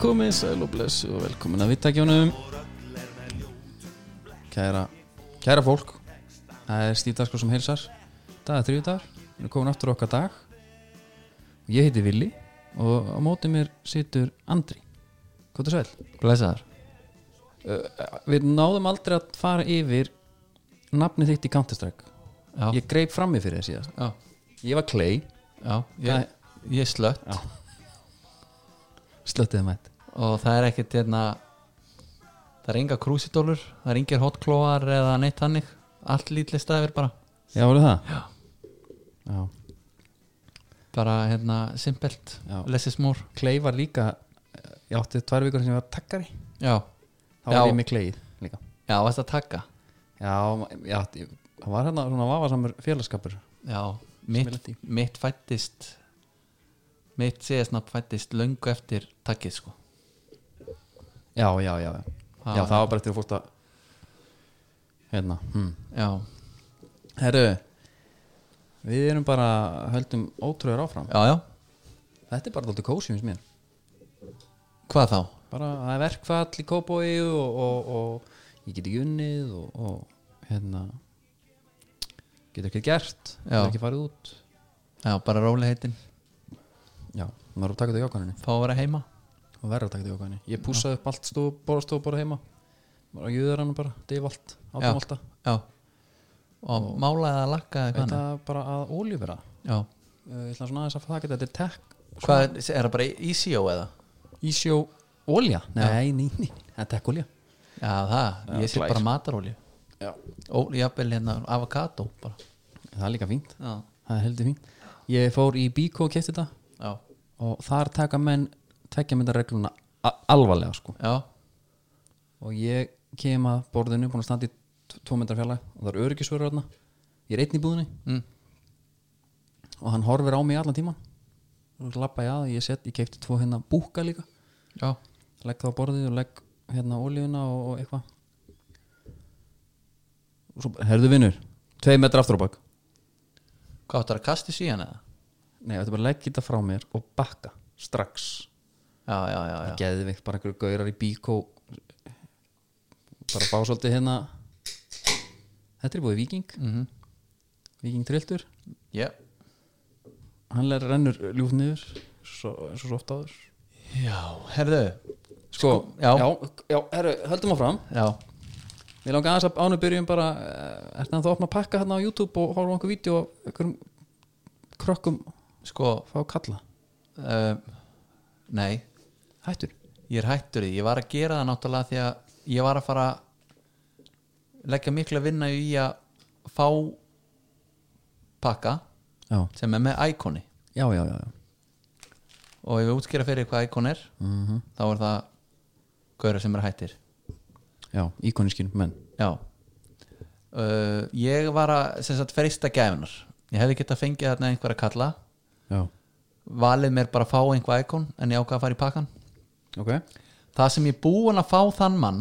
komið, sæl og blessu og velkomin að vittakjónum Kæra, kæra fólk Það er Stíf Darsko sem heilsar Dag er þriðdagar, við erum komin aftur á okkar dag Ég heiti Vili og á móti mér situr Andri Hvað er sæl? Blessaður Við náðum aldrei að fara yfir nafnið þitt í Counter-Strike Já, Ég greip frammi fyrir þér síðast já, Ég var Clay, já ég, ég er slött Já. slöttiði mætt og það er ekkert hérna það er enga krúsidólur, það er engir hotklóar eða neitt hannig, allt lítli stafir bara, Já, voru það? Já Já bara hérna simpelt, Já. lessi smór Clay var líka ég átti tvær vikur sem ég var takkari Já, þá var Já. ég með Clayið líka já, varst að taka já, ég átti það var hérna svona vafasamur félagskapur Já, ég lenti mitt, mitt fættist mitt CS-nafn fættist löngu eftir takkið sko já, já, já, já, Ha. já það var bara eftir að fórst að hérna hm. Já, herru við erum bara höldum ótröður áfram já, já, þetta er bara alltaf kósi finnst mér hvað þá? bara það er verkfall í kópói og, og, og ég get ekki unnið og, og hérna getur ekki gert Já. getur ekki farið út Já, bara róliheitin, já, maður er að taka þetta í ákvæmni fá að vera heima og verður að taka þetta í okkarni ég pússaði upp allt stof, bara stof bara heima bara jöður hann bara, deyf allt átum Já. alltaf Já, og mála eða lakka eða hvað þetta annað? bara að ólífera Já, ég ætla svona aðeins að það geta þetta er tech hvað er, er það bara í sjó eða? ísjó ólja nei, nei, nei, það er tech ólja Já, það, Já, ég sé glær. bara mataróli já. Ó, jafnvel hérna, avokado bara það er líka fínt, Já, það er heldur fínt ég fór í Bíko og kefti þetta já, og þar taka menn tekja mynda regluna a- alvarlega sko já, og ég kem að borðinu búin að standa í t- tvo myndar fjalla og það er öryggisvörur þarna ég er einn í búðinni mm. og hann horfir á mig allan tíman og lappa ég að, ég set, ég keipti tvo hérna búka líka, já, legg það á borðið og legg hérna ólíuna og, og eitthvað og svo, herðu vinnur tvei metri aftur á bak hvað áttu að kasta í hann eða? nei, þetta er bara að leggja þetta frá mér og bakka strax, Já, já, já, já, geði veikt bara einhverju gaurar í bíkó bara fá svolítið hérna þetta er búið viking mm -hmm. viking trilltur, yeah. hann lær rennur ljúft niður svo, svo, svo oft áður já, herðu sko, já. já, já herru, höldum áfram Já, Mér langar aðeins að ánum byrjum bara eh, Ertu ennþá að opna að pakka hérna á YouTube og horfa á einhver vídeo og einhverjum krökkum sko, fá að kalla um, nei, Hættur ég er hættur því Ég var að gera það náttúrulega því að ég var að fara að leggja mikla vinna í að fá pakka Já, sem er með íkoni já, já, já, já. og ef við útskýra fyrir hvað íkon er Mhm. þá er það gauður sem er hættir já íkonískin menn já uh, ég var að sem sagt freista gæfunar ég hefði getað fengið þarna einhverja kalla Já, valið mér bara að fá einhver íkon en ég ákvað að fara í pakkan ok það sem ég er búin að fá þann mann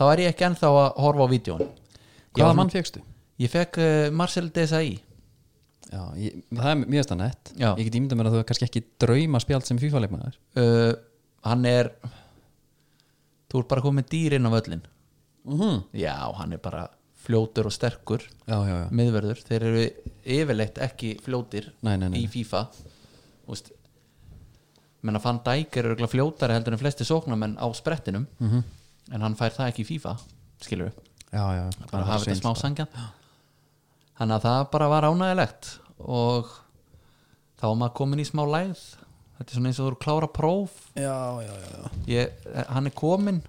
þá er ég ekki ennþá að horfa á vídjón Hvaða mann fegstu? ég fekk uh, Marcel Desai Já, ég, það er mjög stann hett Já. Ég get ímynda mér að þú er kannski ekki drauma spjald sem fífaleikmaður uh, hann er þú er bara komið dýrin á völlin mm -hmm. já, hann er bara fljótur og sterkur Já, já, já miðverður, þeir eru yfirleitt ekki fljótir Nei, nei, nei. í FIFA Úst, menna Van Dijk er örugglega fljótari heldur en flesti sóknarmenn á sprettinum Mhm. -hmm. en hann fær það ekki í FIFA skilur við, Já, já, bara hafa þetta sveins- smá sangja þannig að það bara var ánægilegt og þá var maður komin í smá læð þetta er svona eins og þú eru að klára próf Já, já, já, já. ég, hann er komin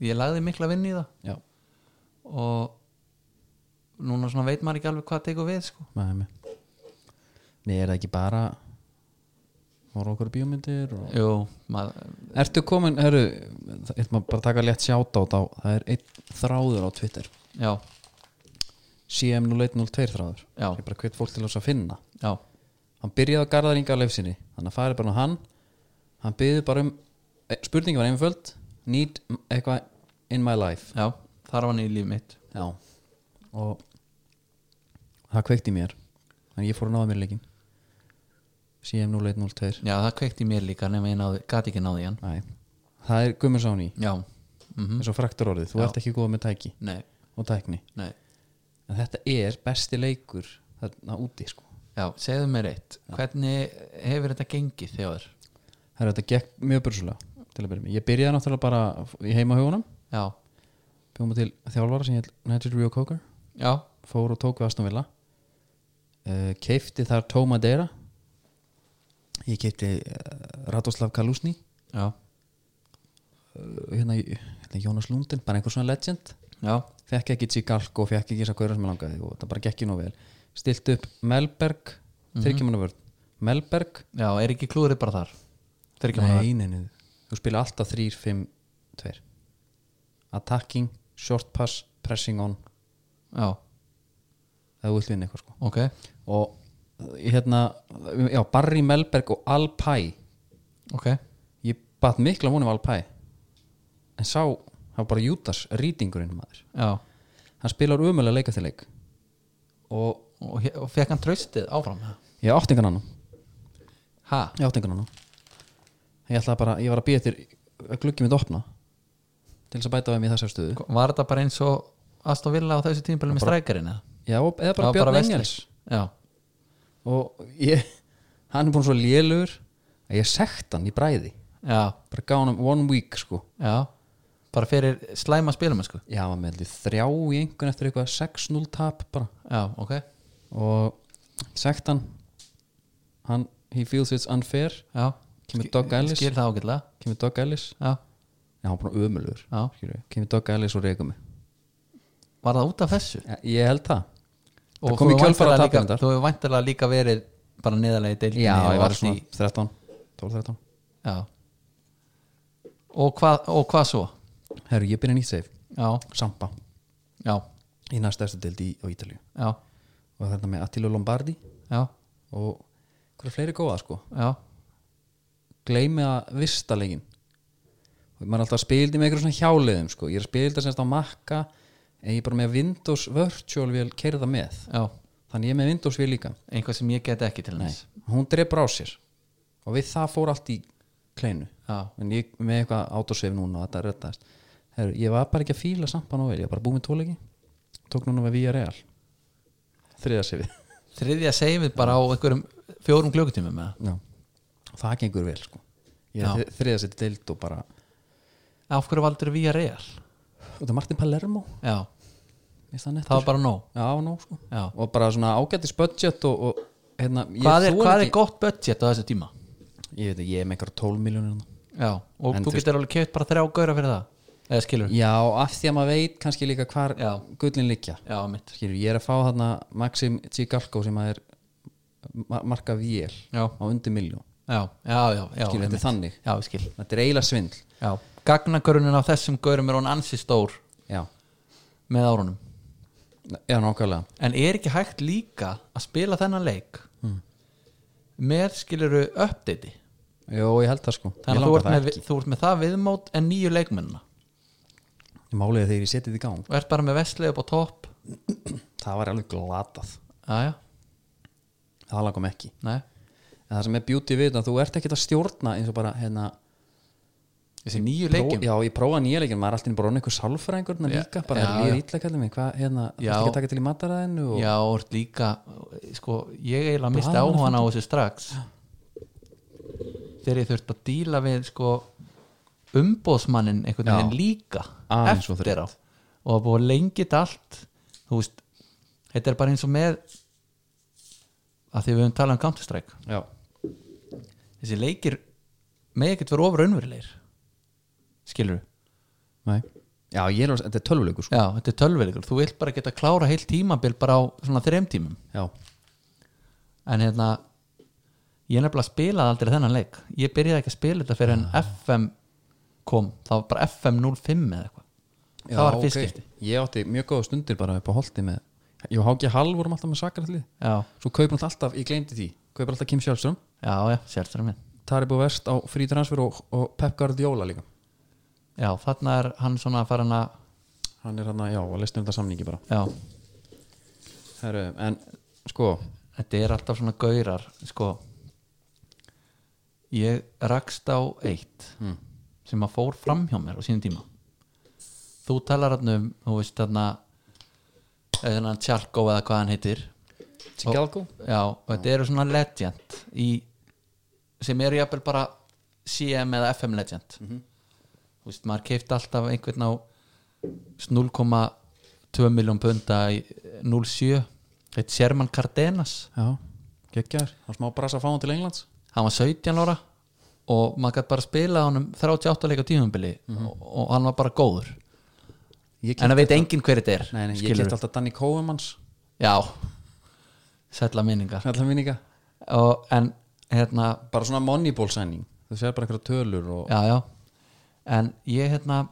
ég lagði mikla vinn í það já. og núna svona veit maður ekki alveg hvað tekur við sko. Nei, nei. Nei, er það ekki bara Hóra okkur bíómyndir og Jú, maður, Ertu komin, herru, það er maður bara að taka létt sjátt á þá, það er einn þráður á Twitter, já, CM0102 þráður, Já. ég bara hvet fólk til þess að finna. já, Hann byrjaði á Garðar Inga Leifsinni, þannig að farið bara á hann, hann byrði bara um, e, spurningi var einföld, need m- eitthvað in my life. já þar var hann í líf mitt Já. Og það kveikti í mér, þannig að ég fór að náða mér leikin, CM0102, já, það kveikti í mér líka nema ég náði, gati ekki náði í hann næ, það er gummur sáni já mm eins og fraktur orðið, þú Já. ert ekki góð með tæki nei, og tækni nei, en þetta er besti leikur þarna úti sko já, segðu mér eitt hvernig hefur þetta gengið þjóður það er þetta gekk mjög bursulega til að byrja með ég byrjaði náttúrulega bara í heimahugunum já, bjóðum til þjálfara sem ég United Rio Coker já, fór og tók við Aston Villa uh, keifti þar Tó Madeira ég keifti uh, Radoslav Kalusni já, uh, hérna, hérna Jónas Lundin, bara einhver svona legend já fekk ekki Tsigalko, fekk ekki þess að gauðra sem ég langaði og það bara gekk ég nú vel stilt upp Melberg, þyrkjumanna vörð Melberg, já, er ekki klúrið bara þar þeir ekki nei, nei, nei þú spila alltaf 3, 5, 2 attacking, short pass pressing on, já, það þú vilt vinna eitthvað sko ok, og hérna, já, Barry Melberg og Alpay ok ég bat mikla vonum Alpay en sá, það var bara Júdas rýtingurinn maður, já, hann spilar umulega leika til leik og og, he- og fekk hann traustið áfram ég átti engan annan ha, Ég átti engan annan Ég ætlaði bara, ég var að býja eftir að gluggi mitt opna til þess að bæta við mig í þessar stöðu var þetta bara eins og Aston Villa á þessu tímpilum með strækarinn eða? Já, og- eða bara Það var Björn Wesley. Engels já, og ég, hann er búin svo lélur að ég sekt hann í bræði já, bara gaf hann one week sko já bara fyrir slæma spilum sko. Já, hann var með held ég þrjá í einhvern eftir eitthvað 6-0 tap bara já, ok, og sekt hann hann, he feels it's unfair já Kemur Doug Ellis. skil það ágætlega kemur Doug Ellis, já, já, hann var búin ömulugur já, kemur Doug Ellis og reyka mig var það út af þessu Já, Ég held það og Það kom í þú hefur kjölfarið á væntanlega tapinu líka- þar. þú hefur vantilega líka verið bara neðarlega í deildinni Já, og ég var varst svona í, 13, 12-13 já. Og, hvað, og hvað svo Herru, ég byrja nýtt seif já, Sampa, já, í næst eftir dild í, á Ítalíu já, og þetta með Attilo Lombardi já, og hvað er fleiri góða sko já gleymi að vista leikinn og maður er alltaf að spildi með einhverjum svona hjáliðum sko, ég er að spilda semst á makka en ég er bara með Windows Virtual vél keirða með, já, þannig ég er með Windows vél líka einhvað sem ég get ekki til þess hún drepur á sér og við það fór allt í kleinu já, en ég með eitthvað autosave núna og þetta rettaðist Heru, ég var bara ekki að fíla sampan og vel ég var bara búið með tóleiki tók núna við Vía Real þriðasefið þriðja seifið bara á einhverjum fjórum klukkutímum eða? það gengur vel sko ég Já. er þriðasefið deild og bara af hverju valdur við að reyðar þetta er Martin Palermo já, mér það það var nettur bara nóg já, ná, sko. já. og bara svona ágættis budget og, og hérna, ég hvað, er, þoli hvað er ekki- gott budget á þessu tíma ég veit að ég er með einhverja 12 miljónir já, og En þú þú getur alveg keft bara þrjá gauðra fyrir það eða skilur, já, af því að maður veit kannski líka hvar já, gullin liggja já, mitt skilur, ég er að fá þarna Maxim Tsigalko sem að er ma- marka vél já, á undir miljón já, já, já, já, skilur, þetta einmitt. er þannig, já, ég skil þetta er eiginlega svindl já, gagnakörunin á þessum gaurum er hún ansi stór já, með árunum já nákvæmlega en er ekki hægt líka að spila þennan leik Hmm. með skiluru uppdatei Jó, ég held það sko, ég þannig að þú langar ert, það með, ekki þú ert með það viðmót en nýju leikmennina Ég máliði þegar ég setið í gang og ert bara með veslið upp á topp það var alveg glatað, aðja, það langum ekki nei en það sem er beauty við þetta, þú ert ekkert að stjórna eins og bara, hérna þessi nýju pró, leikjum já, ég prófa nýja leikin, maður er alltaf bara einhver sálfræðingur hérna, Já, líka, bara já, er líður já. ítla kallið mig hvað, hérna, það Já. er ekki að taka til í mataræðinu og Já, og ert líka sko, ég eiginlega misti Blaðamannafundur. áhugan á þessu strax þegar ég þurfti að díla við sko, umbóðsmannin einhvern Já. veginn líka Aðeins og eftir á og að búið lengið allt þú veist, þetta er bara eins og með að því við höfum talað um Counter-Strike já, þessi leikir með ekkert vera ofur önverulegir skilur nei já, ég er, alveg- þetta er tölvuleikur sko já, þetta er tölveleikur, þú vilt bara geta klára heilt tímabil bara á svona þreim tímum já, en hérna ég nefnilega spilaði aldrei þennan leik ég byrjaði ekki að spila þetta fyrir en FM kom, það var bara FM 05 eða eitthvað, það var ok. fyrst skipti Ég átti mjög góða stundir bara upp á holti með Ég og Háki Hall vorum alltaf með sakarallið já, Svo kaupir hann alltaf, ég gleymdi því Kaupir alltaf Kim Sjálfström, já, já, sérstæður minn Taribu Vest á frí transfer og, og Pep Guardiola líka já, þarna er hann svona farin að Hann er hann að, já, að lestum þetta samningi bara já, Heru, En sko, þetta er alltaf svona gaurar sko ég rakst á eitt Mm. sem að fór fram hjá mér á sínum tíma þú talar hann um þú veist þarna þarna Tjarko eða hvað hann heitir Tjalko já, og þetta eru svona legend í, sem eru jafnvel bara CM eða FM legend Mhm. þú veist, maður keift alltaf einhvern á 0,2 miljón punda í 0,7 þetta Sherman Cardenas Já, geggjar, það smá brasa að fá hann til Englands hann var 17 ára og maður gætt bara að spila honum 38 leika tíðumbili Mhm. og, og hann var bara góður Ég en það veit enginn hver þetta er Nei, nei, ég skilurðu. get alltaf Danny Kofumanns já, sætla minningar Alltaf minninga og, en hérna Bara svona moneyball sæning Þú sér bara einhverja tölur og já, já. en ég hérna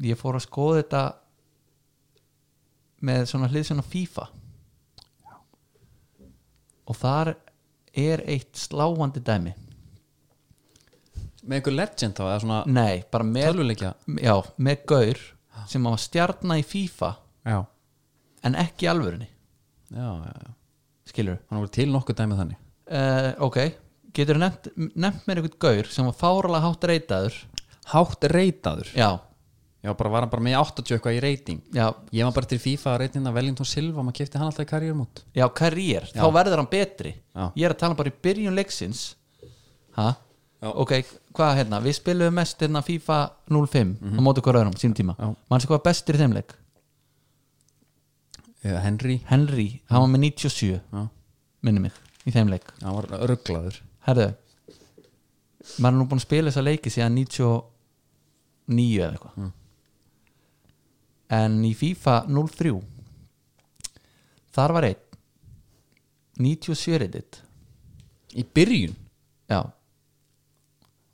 ég fór að skoða þetta með svona hliðsjón á FIFA og þar er eitt sláandi dæmi Með einhver legend þá, eða svona nei, bara með tölvuleikja já, með gaur sem hann var stjarna í FIFA Já, en ekki í alvörunni, já, já, já skilur Hann voru til nokkuð dæmið þannig uh, ok, getur nefnt, nefnt mér einhvern gaur sem var fáralega hátt reytaður Hátt reytaður já, Já, bara var hann bara með 80 eitthvað í reyting já, Ég var bara til FIFA að reytingna Wellington Silva Maður kefti hann alltaf í karriérmót já, karriér þá verður hann betri, Já. ég er að tala bara í byrjun leiksins ha, Já. ok hvað hérna, við spilum mest hérna FIFA 05 á móti hver öðrum, sínum tíma Mhm. Já. mannstu hvað var bestur í þeim leik Eh, Henry, Henry, hann var með 97 já, minni mig, í þeim leik hann var rugglaður Herðu maður er nú búin að spila þessa leiki síðan 99 eða eitthvað Mm. en í FIFA 03 þar var einn 97 reddit Í byrjun já,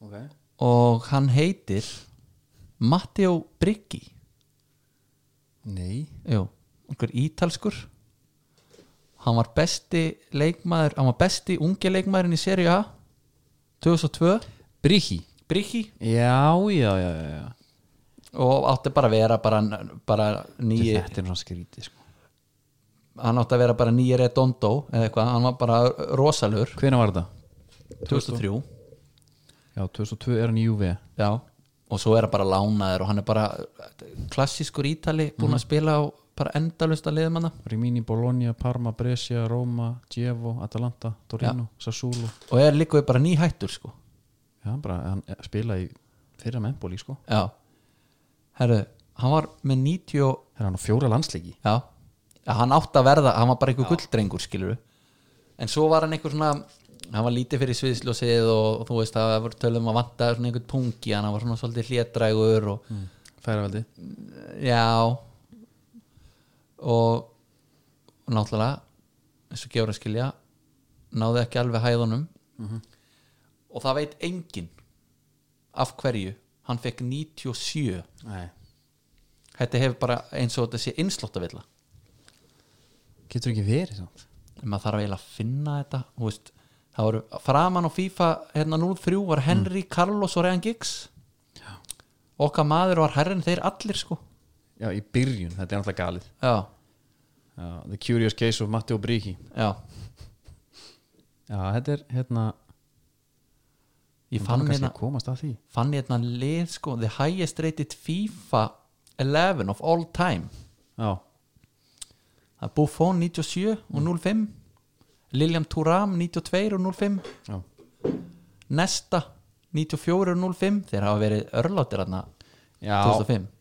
okay. og hann heitir Matteo Briggi Nei, jú, einhver ítalskur hann var besti leikmaður, hann var besti ungi leikmaðurinn í Serie A 2002 Brigi Briggi Já, já, já, já, já. og átti bara að vera bara, bara nýji Þetta er svona skrítið sko. hann átti að vera bara nýji redondo eða eitthvað, hann var bara rosalur Hvenær var þetta? 2003, Já, 2002 er hann í UV já og svo er hann bara lánaður og hann er bara klassískur ítali búin að spila á bara endalusta liðmanna Rimini, Bologna, Parma, Brescia, Roma, Djevo, Atalanta, Torino, Sassuolo og er líka bara nýhættur sko Já, hann bara, hann eh, spila í fyrra með Empoli sko já, herru hann var með 90 og- Það er hann á fjóra landsleiki já, Já, hann átti að verða hann var bara einhver gulldrengur skilur en svo var hann einhver svona hann var lítið fyrir sviðsljósið og, og þú veist það var tölum að vanta svona einhvern pungi hann var svona svolítið hlétrægur og Mm. Færaveldi já og og náttúrulega eins og gefur að skilja náði ekki alveg hæðunum og það veit enginn af hverju hann fekk 97 Nei þetta hefur bara eins og þetta sé innslóttavilla Getur ekki verið samt en maður þarf eiginlega að finna þetta þú veist, það voru framan á FIFA hérna 03 var Henry, Carlos og Ryan Giggs okkar maður var herrin þeir allir sko Já, í byrjun, þetta er alltaf galið já, Já, The Curious Case of Matteo Brigi já Já, þetta er hérna ég fann kannski hérna, að komast að því fann ég hérna lið sko the highest rated FIFA 11 of all time Já, það er Buffon 97 og 05 Lilian Thuram 92 og 05 já Nesta 94 og 05 þeir hafa verið örlátir hérna Já, 2005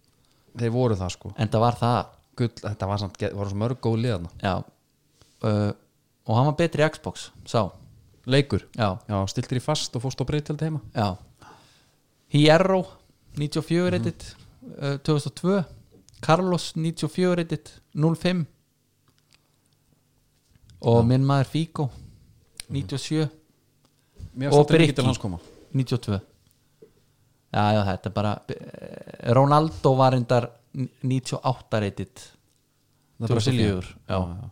þeir voru það sko en það var það Gull, þetta var samt, voru svo mörg góð liðana já uh, og hann var betri í Xbox sá, Leikur já, Já, stiltir í fast og fórst á breytild heima já Hierro 94 reddit uh, 2002 Carlos 94 reddit 05 og minn maður Figo 97 Mér Og finnst þetta Breki. ekki til hans koma 92 já, já, þetta er bara eh, Ronaldo var endar 98 reddit Það er bara Silja 2004, já.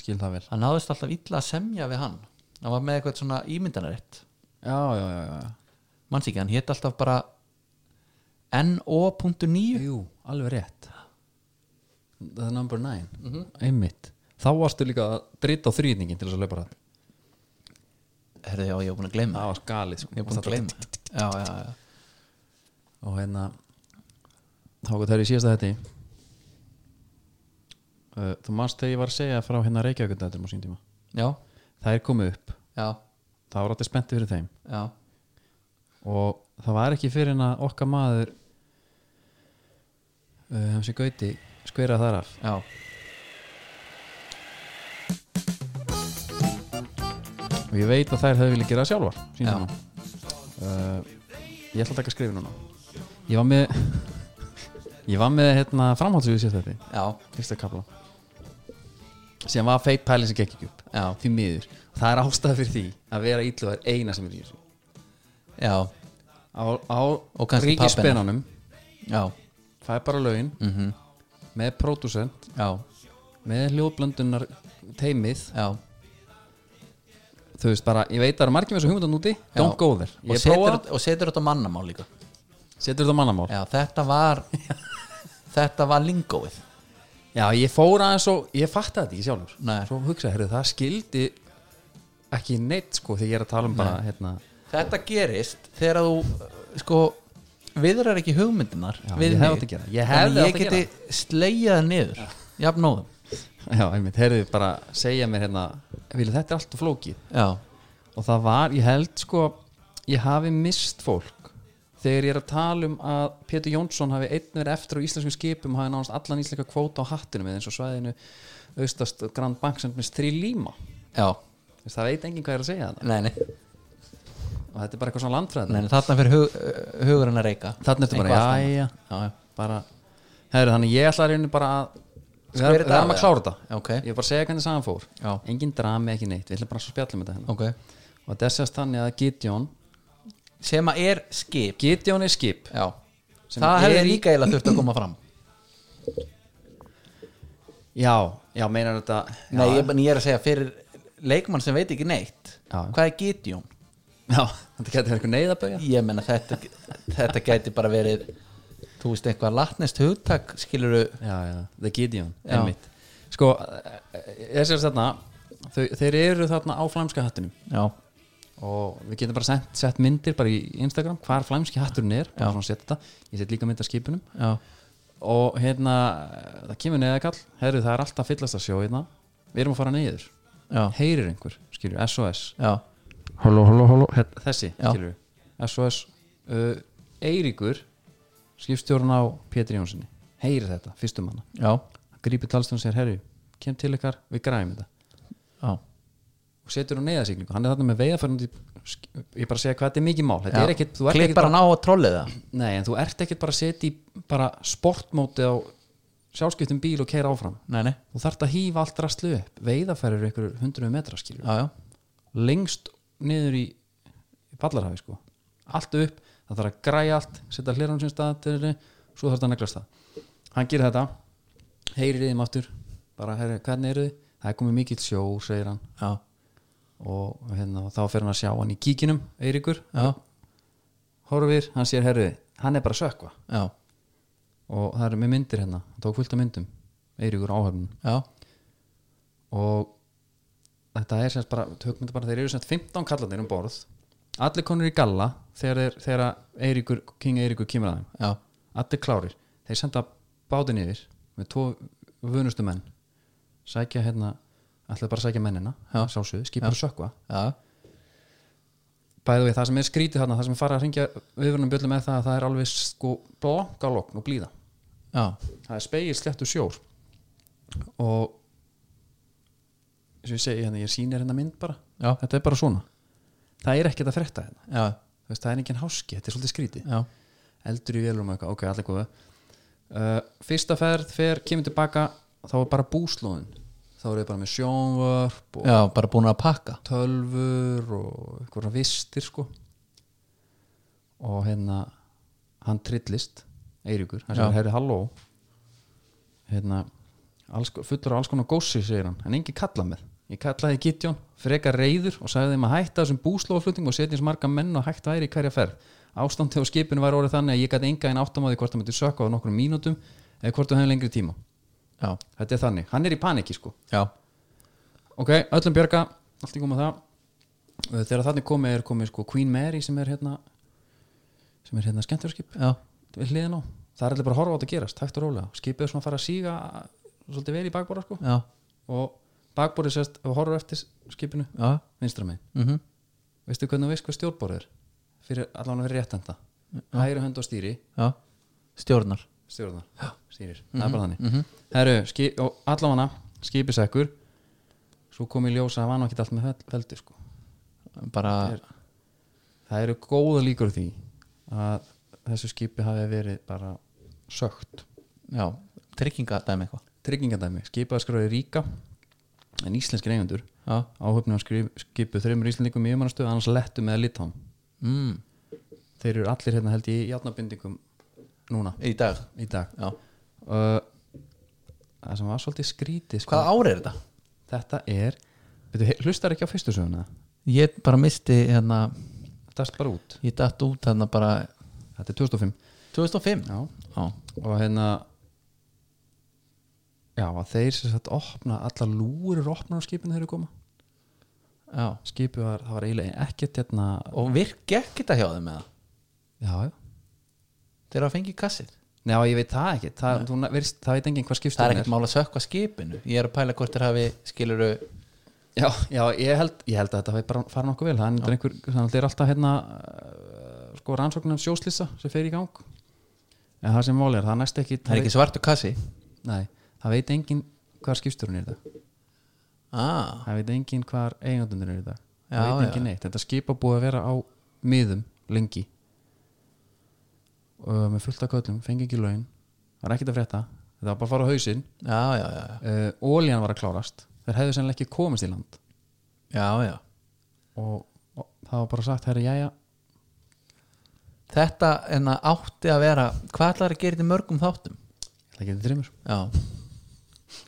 Skil það vel hann náðist alltaf illa að semja við hann hann var með eitthvað svona ímyndanarétt Já, já, já, já manns ekki, hann hétt alltaf bara NO.9 Jú, alveg rétt The number nine Einmitt Þá varstu líka að drita á þrýningin til þess að löpa rætt herðu já, ég var búin að gleyma Það var skalið sko ég var búin að gleyma já, já, já. og hérna þá gott þær í síðasta þetta uh, þú manst þegar ég var að segja frá hérna reykjavíkundættum á sín tíma já, þær komu upp, já, það var alltaf spennti fyrir þeim já. og það var ekki fyrir en að okkar maður uh, hans í gauti skverað þar af já. og ég veit að þær hefði vilja gera það sjálfar Já. síðan uh, ég ætla að taka skrifi núna ég var með ég var með hérna framhaldsvíðu sér þetta já, fyrsta kapla sem var feit pælinn sem gekk ekki upp já, því miður, það er ástæða fyrir því að vera ítlu er eina sem er í þessu já, á, á Og kannski ríkispenanum já, það er bara lögin mm með pródusent, já, með hljóðblöndunar teimið, já þú veist bara ég veit að það eru margir með þessu hugmyndan úti, don't go there og ég setur, prófa, þetta- og setur þetta á mannamál líka setur þetta á mannamál já, þetta var þetta var lingóið Já, ég fór aðeins og ég fatt þetta ekki sjálfur Nei. Svo hugsaði, herrðu, það skildi ekki neitt sko þegar ég er að tala um bara hérna, þetta gerist þegar þú uh, sko viðrar ekki hugmyndinar Já, við ég hefði mig. átt að gera það. Ég Þannig hefði átt ég að geti gera slegjaði niður jafnóðum Já, einmitt, herrðu, bara segja mér hérna Vili, þetta er allt og flókið já, Og það var, ég held sko Ég hafi mist fólk Þegar ég er að tala um að Pétur Jónsson hafi einn verið eftir á íslenskum skipum og hafi nánast allan íslenska kvóta á hattinum eða eins og svæðinu austast Grand Bank sem minnst þrý líma já, Þú veist, Það veit enginn hvað ég er að segja þetta nei, nei, og þetta er bara eitthvað svona landfræðin nei nei, þarna fyrir hug, uh, hugurinn að reyka Þannig ertu bara, Eitthvað já, allt já, annað. já, bara herri, þannig ég ætla að reyna bara að við Skvera erum- þetta við erum af, að klára þetta já, ok, ég er bara að segja hvernig saman fór já, engin drami, ekki neitt, við ætlum bara að spjalla um þetta hérna ok og þetta er sérst þannig að Gideon sem að er skip Gideon er skip já, Sem það hefði er í- líka eiginlega þurft að koma fram já, já, meinar þetta já, Nei, ég, en ég er að segja fyrir leikmann sem veit ekki neitt Já. hvað er Gideon? já, þetta getur eitthvað neyðabögja Ég menna þetta, þetta gæti bara verið þú veist eitthvað latnest hugtak skiluru, já, já, the Gideon, Já. einmitt sko, er sérst þarna þau, þeir eru þarna á flæmska hattunum já, og við getum bara sett, sett myndir bara í Instagram, hvar flæmski hatturinn er bara svona setja þetta, ég set líka mynd af skipunum já, og hérna það kemur neðakall, herru það er alltaf fyllast að sjó hérna, við erum að fara niður já, heyrir einhver, skilur, SOS já, halló, halló, halló, hérna, þessi, Já. skilur SOS uh, Eiríkur skipstjórn á Pétur Jónssoni heyrir þetta, fyrstum hana, já, grípur talstunum og segir herru, kem til ykkar, við græfum þetta já. og setur hún neðasigningu, hann er þarna með veiðafærandi ég bara segja hvað þetta er mikið mál þetta já. er ekkit, þú ert ekkit klippar bara, hann á að trollið það nei, en þú ert ekkit bara að setja í bara sportmóti á sjálfskiptum bíl og keira áfram Nei, nei, þú þarft að hýfa allt rastlu upp veiðarfærir ykkur 100 metra skilur já, já, lengst niður í ballarhafi sko allt upp, það þarf að græja allt setja hlerunum sem stað til þeirri svo þarf að neglast það hann gerir þetta, heyrir í þeim aftur bara, herri, hvernig eru þið? það er komið mikill sjó, segir hann já, og hérna, þá fer hann að sjá hann í kíkinum Eiríkur, já, horfir hann sér herriði, hann er bara að sökva já, og það er með myndir hérna, hann tók fullt af myndum Eiríkur áhöfnum já, og þetta er semst bara, tökmynda bara þeir eru semst 15 kallarnir um borð allir konur í galla þegar, þeir, þegar að Eiríkur, King Eiríkur kemur að þeim já, allir klárir, þeir senda bátinn yfir með tvo vunustu menn sækja hérna allir bara að sækja mennina, Já. sjálfsögðu, skipur að sökva já, bæðu við það sem er skrítið þarna, það sem er farið að ringja viðvörnum bjöllum er það að það er alveg sko blanka lokn og blíða já, það er spegil slettu sjór og eins og ég segi hérna, ég sýnir hérna mynd bara Já. þetta er bara svona það er ekkert að frétta hérna já, Þú veist, það er enginn háski, þetta er svolítið skríti já, eldur í velum og eitthvað, ok, allir góða uh, fyrsta ferð, fer, kemur tilbaka þá er bara búslóðin þá eru þau bara með sjónvörp og já, bara búin að pakka tölfur og eitthvað vistir sko og hérna hann trillist, Eiríkur hann Já. segir, herri, halló hérna, alls, fullur á alls konar gósi segir hann, en engin kalla með ég kallaði Gideon, frekar reyður og sagði þeim að hætta þessum búslóflutning og setja eins marga menn og hægt væri í hverja ferð ástandi á skipinu var orðið þannig að ég gæti enga einn áttamáði hvort það myndi sökka á nokkrum mínútum eða hvort það hefði lengri tíma já, þetta er þannig, hann er í paniki sko já, ok, öllum Eh, bjarga allt í góma það Uh, þegar þannig komið er komið sko Queen Mary sem er hérna sem er hérna skemmtjörskip já, við hliðin á, það er allir bara að horfa á þetta gerast hægt og rólega, skipið er svona að fara að síga eh, svolítið vel í bakbóra sko já, og bakbórið sérst, ef við horfum eftir skipinu já vinstra megin, mm veistu hvernig þú veist hvað stjórnbórið er fyrir allan fyrir réttenda hægri hönd og stýri, já, stjórnar stjórnar stýrir, það er bara þannig Heru, skip, og allavega skipið sekkur svo kom í ljósa að það var nú ekki allt með fel- feldi sko. bara, Er- það eru góða líkur á því að þessu skipi hafi verið bara sögt já, trygginga dæmi eitthvað tryggingadæmi, skipaðaskráði ríka en íslenskir eigendur já, áhöfnum að skrif, skipu þreymur íslendingum í umannastöð annars lettum eða litam mm. þeir eru allir hérna held ég í játnabindingum núna í dag í dag já. uh, það sem var svolítið skrítið sko, hvað ár er þetta? þetta er byrju, he- hlustar ekki á fyrstu söguna ég bara misti hérna þetta er bara út, ég datt út hérna bara þetta er 2005 2005 já. já, og hérna já að þeir sem sagt opna allar lúur eru opnar á skipinu þegar þeir koma já. skipu var, það var eiginlega ekkert hérna og virk gekk þetta hjá þeim með það já já þeir eru að fengi kassið Nei, já, ég veit það ekki, það, þú, veist, það veit enginn hvað það er skipstjórn ekkert mál að sökva skipinu ég er að pæla hvort þeir hafi skiluru Já, já ég, held, ég held að þetta hafi bara fara nokkuð vel þannig er einhver, þannig er alltaf hérna eh, sko rannsóknum sjóslýsa sem fer í gang en það sem máli er, það er næst ekki það er ekki svartu kassi nei, það veit enginn hvar skipstjórun er í dag ah, það veit enginn hvar eigandundur er í dag Já, það veit já. enginn neitt, þetta skipa búið að vera á miðum lengi og með fullt af köllum fengi ekki laun, það er ekkert að frétta þetta var bara að fara á hausinn já, já, já, já. uh, ólíjan var að klárast þeir hefðu sennilega ekki komist í land já, já og, og það var bara sagt, herri, jæja þetta enna átti að vera hvað ætlar að gera þetta í mörgum þáttum ég ætla ekki þetta þreymur já,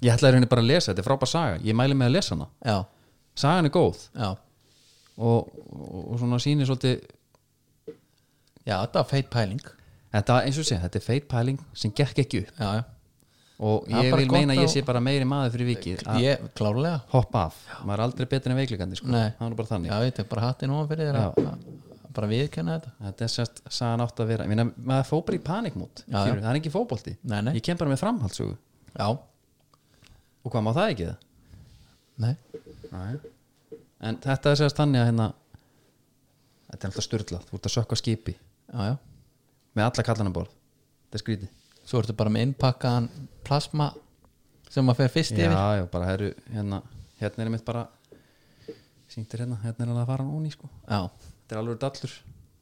Ég ætlaði henni bara að lesa, þetta er frábær saga Ég mæli með að lesa hana, já, sagan er góð já og, og, og svona sýnir svolítið já, þetta var feit pæling Þetta eins og sé, þetta er feit pæling sem gekk ekki upp já, já, og Það er ég bara vil gott meina að ég að- sé bara meiri maður fyrir vikið að ég, klárlega hoppa af maður er aldrei betur en veiklegandi sko. Nei. það er nú bara þannig já, ég tek bara hattinn ofan fyrir þér að- að- bara viðkenna þetta þetta er sérst sagan átt að vera Minna, maður fór bara í panikmút, Já, já. það er ekki fótbolti Nei, nei. ég kem bara með framhaldsögu já, og hvað má það ekki það? nei, Nei. en þetta er sérst þannig að hérna þetta er alltaf styrlað, þú ert að sökka skipi já, já með alla kallana um borð, þetta er skrítið svo ertu bara með innpakkaðan plasma sem maður fer fyrst yfir já, já, bara herru, hérna hérna er mitt bara sýndir hérna, hérna er alveg að fara hann óni sko. já, þetta er alveg dallur,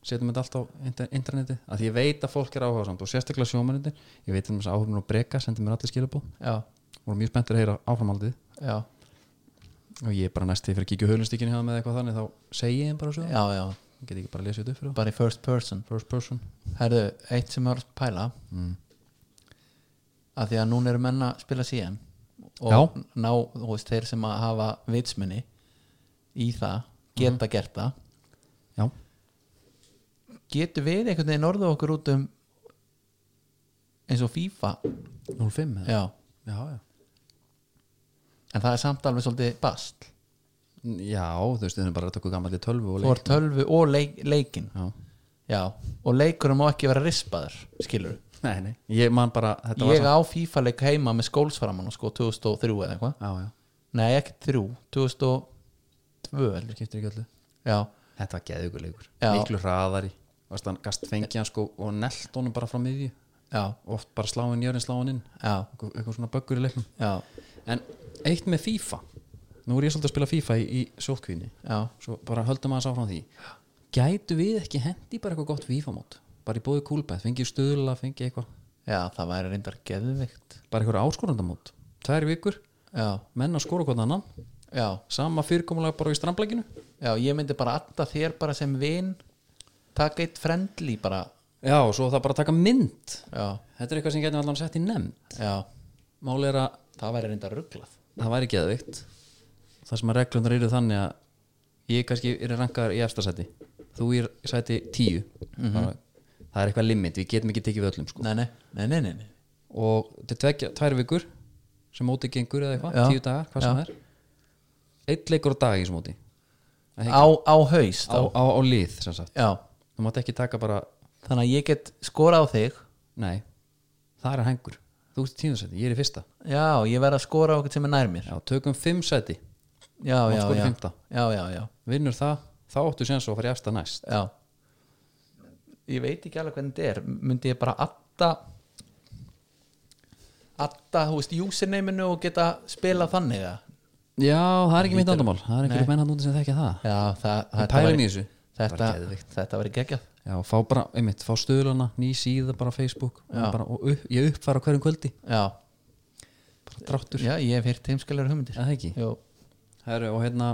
setjum þetta allt á inter- interneti, að ég veit að fólk er áhugasamt og sérstaklega sjómanundir, ég veit um þess að áhugurinn og breka, sendir mér allir skilabóð já, og mjög spenntur að heyra áframaldið já, og ég er bara næst til fyrir að kíkja höflinstíkinu hjá með eitthvað þannig, þá segi ég þeim bara svo já, já ég get ekki bara að lesa þetta upp fyrir þá. bara í first person first person herðu, eitt sem ég var að pæla Mm. að því að núna eru menna að spila CM og Já. ná, þú veist, þeir sem að hafa vitsmunni í það Mhm. geta gert það já, getur við einhvern veginn orðið okkur út um eins og FIFA 05 eða? já, já, já, en það er samt alveg svolítið bast já, þú veist, þau erum bara að taka gammal í tölvu og þú er tölvu og leik, leikin Já. já, og leikurinn má ekki vera rispaður skilur Nei, nei, ég man bara þetta var ég á FIFA leik heima með skólsframan sko 2003 eða eitthvað Já, já, nei ekki 3, 2002 held ég. skiptir ekki öllu já, Þetta var geðugur leikur, Já. miklu hraðari Varst hann gast fengi hann sko og nelt honum bara frá miðju já, Oft bara sláin jörinn sláin inn já, Eitthvað eitthvað svona böggur í leiknum já, En eitt með FIFA Nú er ég svolítið að spila FIFA í, í sótkvíni já. Svo bara höldum aðeins áfram því Gætu við ekki hendi bara eitthvað gott FIFA mót Bara í bóði kúlbæð, fengið stöðla, fengið eitthvað Já, það væri reyndar geðvikt Bara eitthvað áskorandamót Tvær vikur, Já, menn að skora hvort annan já, Sama fyrirkomulega bara í strandblækinu já, ég myndi bara alltaf þér bara sem vin taka eitt friendly bara Já, og svo það bara að taka mynd Já, Þetta er eitthvað sem getum allan sett í nefnd já, Máli er að það væri reyndar rugglað það væri geðvikt Það sem að reglunar eru þannig að ég kannski er rankaður í efstasæti Þú er sæti tíu bara, Það er eitthvað limit, við getum ekki tekið við öllum sko. Mhm. Nei, nei, nei, nei, nei, nei. Og þetta er tveggja- tvær vikur sem mótið gengur eða eitthvað, Já. tíu dagar, hvað sem það er Eitt leikur á dag í þessu móti Á, á haus á, þá á, á lið sem sagt Já, Þú mátt ekki taka bara þannig að ég get skorað á þig Nei, það er hengur Þú ert í tíðarsæti, ég er í fyrsta já, ég verð að skora á okkur sem er nær mér Já, tökum fimm sæti, já, já, skora í já, fimmta. já, já, já, vinnur það Þá áttu séðan svo að fara í efsta næst já ég veit ekki alveg hvernig þetta er myndi ég bara atta atta, þú veist, usernameinu og geta spilað þannig að Já, það er ekki mitt andamál Það er einhverjum menn hann úti sem þekkja það já, það, þetta pælum í væri- þessu. þetta, Það var þetta verið geggjað Já, fá bara, einmitt, fá stöðlana, ný síða bara á Facebook og, bara, og upp, ég uppfara hverjum kvöldi já, bara dráttur, já, ég hef heyrt heimskalegar hugmyndir eða ekki Jú. Herru, og hérna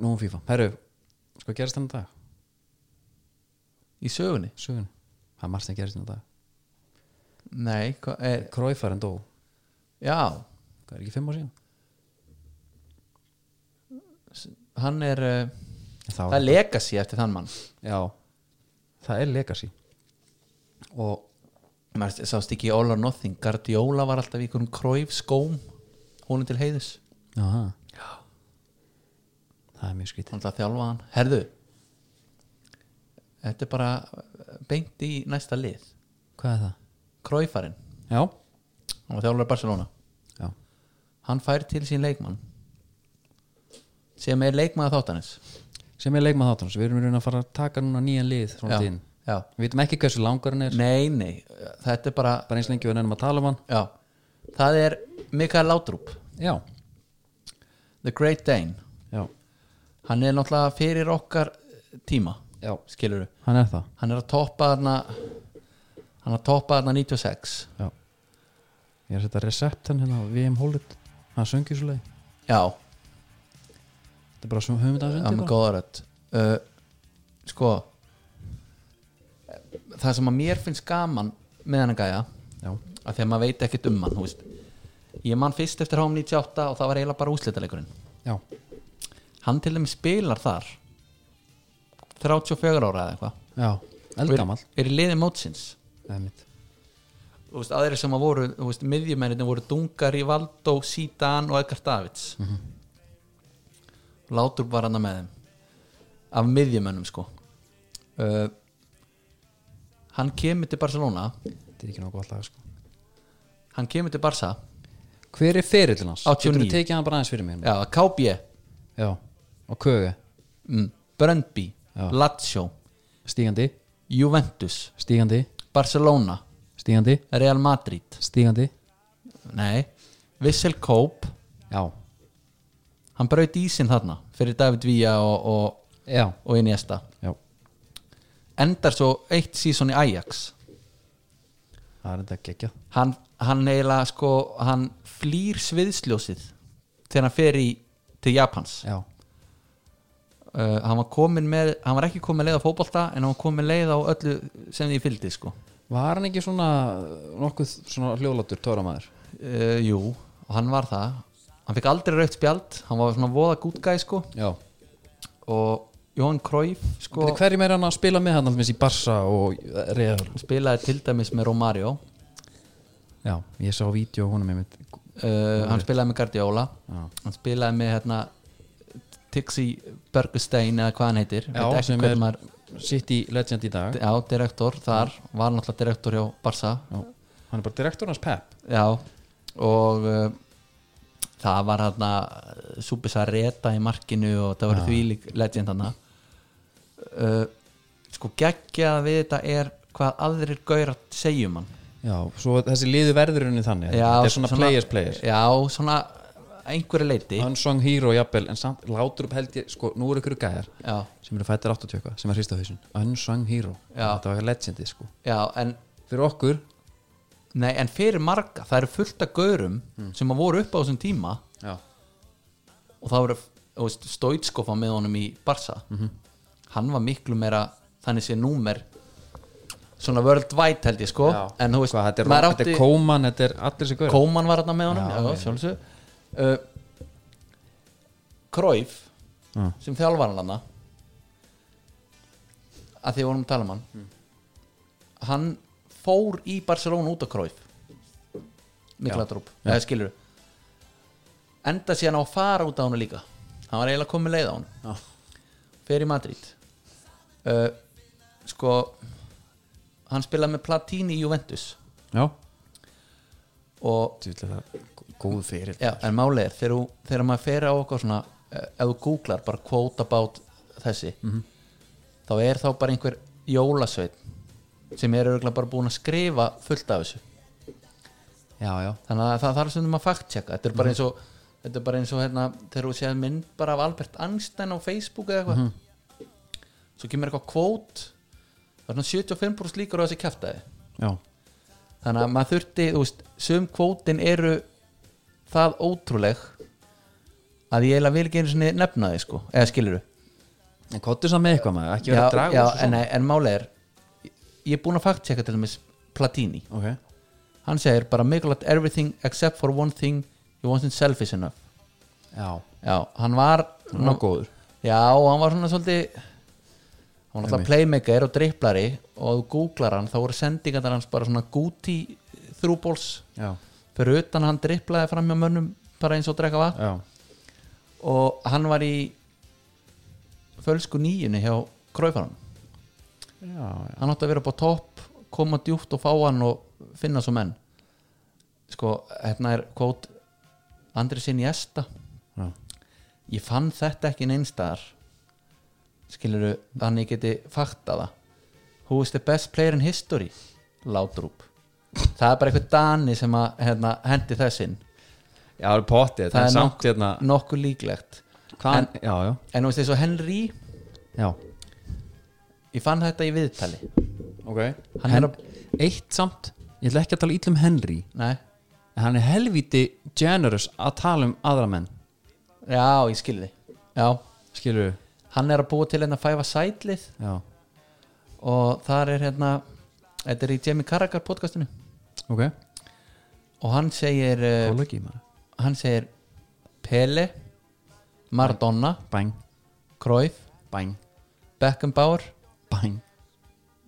Nú um FIFA Herru, sko gerist þennan dag í sögunni sögun, það er margt sem gerist þennan dag nei, hva, e- er, Króifar en dó, já, það er ekki fimm ár síðan hann er uh, En það það var, er legacy eftir þann mann já, það er legacy og Maður sást ekki í All or Nothing Guardiola var alltaf í einhverjum króif skóm hún er til heiðus Aha. það er mjög skrítið hann ætlaði að þjálfa hann herðu þetta er bara eh, beint í næsta lið hvað er það? króifarinn Já, hann var þjálfur Barcelona já, hann fær til sín leikmann sem er leikmann að þáttanis sem er leikmað þáttunum við erum í raun að fara að taka núna nýjan lið já, svona tíðin, já. við veitum ekki hversu langar hann er nei, nei, þetta er bara bara eins lengi við nefnum að tala um hann já. það er Mikael Laudrup já, The Great Dane já, hann er náttúrulega fyrir okkar tíma já, skilur hann er það hann er að toppa þarna hann er að toppa þarna 96 já. ég er að setja receptan hérna á VM Hollywood hann söngi svo leið, já, þetta er bara svona höfum það er með þetta góða rödd uh, sko það sem að mér finnst gaman með hann að gæja já, að því að maður veit ekkert um hann þú veist. ég man fyrst eftir hóm 98 og það var eiginlega bara úslitaleikurinn já, hann til þeim spilar þar 34 ára eða eitthvað já, eldgamall Og er, er í liði mótsins Einmitt. Þú veist, aðrir sem að voru, þú veist, miðjumennin voru Dunga, Rivaldo, Zidane og Edgar Davids mm Látur var hann með þeim af miðjumennum sko uh, hann kemur til Barcelona þetta er ekki nokkuð alltaf sko. hann kemur til Barca hver er ferillin hans? 89. getur þú tekið hann bara aðeins fyrir mér? já, KB, já, og kögu mm, Brøndby Já. Lazio, stígandi, Juventus stígandi, Barcelona, stígandi Real Madrid stígandi, nei, Vissel Kopp já, hann braut ísinn þarna fyrir David Villa og, og, já, og Iniesta já endar svo eitt sísón í Ajax það er þetta geggjað hann, hann eiginlega sko hann flýr sviðsljósið þegar hann fer í til Japans já, uh, hann var komin með, hann var ekki komin með leið á fótbolta en hann var komin með leið á öllu sem því fylgdi sko var hann ekki svona nokkuð svona hljóðlátur tóramæður? uh, jú, og hann var það hann fekk aldrei raukt spjald, hann var svona voða gútgæði sko já, og Jóhann Króif sko Bíddu, hverjum er hann að spila með hann alveg í Barsa og Real spilaði til dæmis með Romario uh, já, ég sá vídeo á honum einmitt Eh, hann spilaði með Guardiola já, hann spilaði með hérna Tixi Bergestein eða hvað hann heitir já Veit ekki sem er hvernig maður- City Legend í dag Já, direktor þar, var náttúrulega direktor hjá Barça já. hann er bara direktor hans Pep Já, og uh, það var hérna Súbis að reta í markinu og það var því lík legend hana uh, Sko geggjað við þetta er hvað aðrir gaurar segjum hann já, svo þessi liðu verður henni þannig þetta er svona, players players Já, svona að einhverju leiti unsung hero jafnvel en samt látur upp held ég sko, nú eru ykkur gæjar Já, sem eru fættir 80 eitthvað sem er hrista hausin unsung hero Já. þetta var legendið sko já, en fyrir okkur Nei, en fyrir marga, það eru fullt af gaurum Mm. sem að voru upp á þessum tíma já, og það voru þú veist, stóitskofa með honum í Barsa Mhm. hann var miklu meira þannig sé númer svona worldwide held ég sko en þú veist, Hvað, þetta er, maður þetta átti er kóman, þetta er allir sér gaur Kóman var hann með honum Já, já, ok. sjálfsög uh, Króif Já. sem þjálfar hann hann að því við vorum að tala um hann Mm. hann fór í Barcelona út á Króif mikla Já. drúb, eða skilur enda síðan á að fara út á hann líka hann var eiginlega komið leið á hann Já. fer í Madrid uh, sko hann spilaði með Platini í Juventus já, og þú vilja það góð fyrir já, en máli er þegar, þú- þegar maður fer á okkar svona eh, ef þú googlar bara quote about þessi Mhm. þá er þá bara einhver jólasveit sem er örgulega bara búin að skrifa fullt af þessu já, já, Mhm. þannig að það þarf stundum að fact checka þetta er bara eins og þetta er bara eins og hérna þegar þú séð mynd bara af Albert Einstein á Facebook eða Mhm. eitthvað svo kemur eitthvað kvót það er svona 75% líkur á þessi kjaftaði já, þannig að maður þurfti, þú veist, sum kvótin eru það ótrúleg að ég eiginlega vil ekki einu sinni nefna þið sko, eða skilur en kottu saman með eitthvað maður ekki vera já, að draga já, úr svo en, nei, en máli er ég er búin að fact checka til dæmis Platini svona. ok, hann segir bara make a lot everything except for one thing he wasn't selfish enough já, Já, hann var hann var góður Já, hann var svona svolítið hann var náttúrulega playmaker og dripplari og þú googlar hann, þá voru sendingarnar hans bara svona gúti þrúbóls já, fyrir utan hann dripplaði fram hjá mönnum bara eins og drekka vatn já, og hann var í fölsku nýjunni hjá Króifarann já, já. hann átti að vera upp á topp koma djúpt og fá hann og finna svo menn sko, hérna er kvót Andri sinni Esta já. ég fann þetta ekki neinstaðar skiluru þannig ég geti fakta það who is the best player in history látrúp það er bara eitthvað dani sem að hérna, hendi þessinn Já, það er pottið, það það er er samt nokkuð- hérna nokkuð líklegt Hvaðan, já, já, en þú veist eins og Henry já ég fann þetta í viðtali Ok Hann Hen er að- Eitt samt, ég ætla ekki að tala ítlum Henry Nei. En hann er helvíti generous að tala um aðra menn já ég skilði já Skilur hann er að búa til hérna fæfa sætlið Já, og þar er hérna þetta er í Jamie Carragher podcastinu ok og hann segir eh, Kólegi maður hann segir Pele Maradona Bang, Cruyff, bang, Beckenbauer bang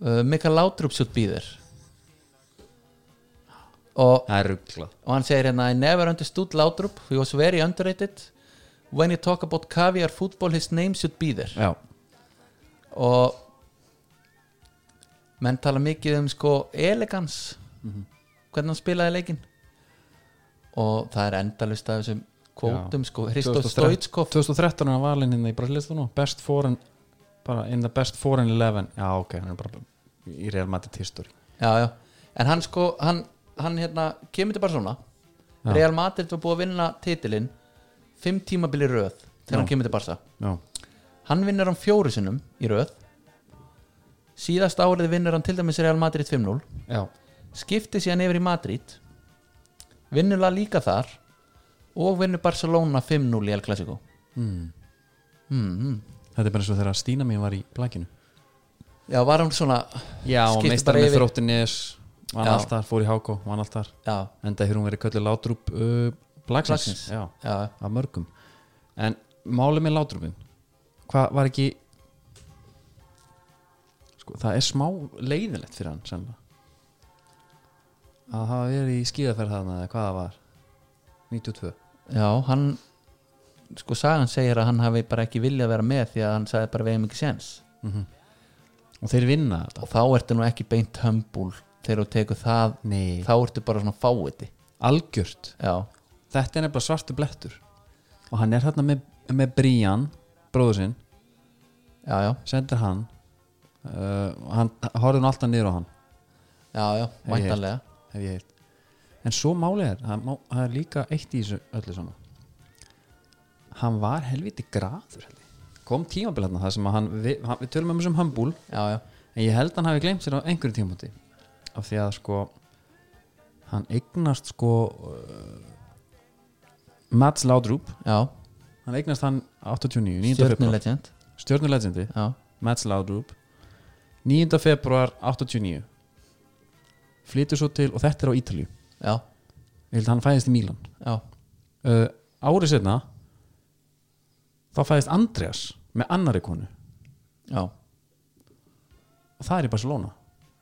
uh, Mikael Laudrup svo býður og, Það er ruggla og hann segir hérna I never understood Laudrup, he was very underrated when you talk about caviar football his name should be there Já, og menn tala mikið um sko elegans Mhm. hvernig hann spilaði leikinn og það er endalust af þessum kvótum sko, Hristof 2013 Stoitskov 2013 er hann valinn hérna í Brasilistunum Best foreign bara in the best foreign 11 Já, ok, hann er bara í Real Madrid history já, já. en hann sko hann, hann hérna, kemur til Barcelona Já. Real Madrid var búið að vinna titilinn fimm tímabili röð þegar Já. hann kemur til Barca Já, hann vinnur hann fjóru sinnum í röð síðast árið vinnur hann til dæmis Real Madrid 5-0 já, skipti síðan yfir í Madrid vinnulega líka þar og vinnur Barcelona 5-0 í El Clasico Hmm. mm. mm -hmm. Þetta er bara eins og þegar Stína mín var í blækinu já, var hann svona Já, og Skipti meistar bara með yfir. þróttinnes Vann Já. alltaf, fór í Háko, vann alltaf já, Enda hefur hún verið köllu Látrúp uh, Blagsins Blacksins. Já, já, af mörgum En málið með Látrúpin Hvað var ekki sko, Það er smá leiðilegt fyrir hann sem að hafa verið í skíðaferð þarna eða hvað það var 92 já, hann sko sagan segir að hann hafi bara ekki viljað vera með því að hann sagði bara við hefum ekki séns og þeir vinna þetta og þá ertu nú ekki beint hömbúl þegar þú tekur það Nei, þá ertu bara svona fáiði algjört já, Þetta er nefnilega svartu blettur og hann er þarna með, með Brían bróður sinn, já, já, sendir hann uh, og hann horfði hann alltaf niður á hann já, já væntanlega hef ég heilt en svo málið er, það, má, það er líka eitt í þessu öllu saman hann var helviti graður held ég. kom tímabil hérna það sem að hann við, hann, við tölum um þessum hömbúl já, já, en ég held að hann hafi gleymt sér á einhverjum tímapunkti af því að sko hann eignast sko uh, Mats Laudrup já, hann eignast hann 89, 9. februar stjórnulegend stjórnulegend já, Mats Laudrup 9. februar 89 flytur svo til og þetta er á Ítalju já, ég held að hann fæðist í Mílan já, uh, árið setna þá fæðist Andreas með annari konu já og það er í Barcelona,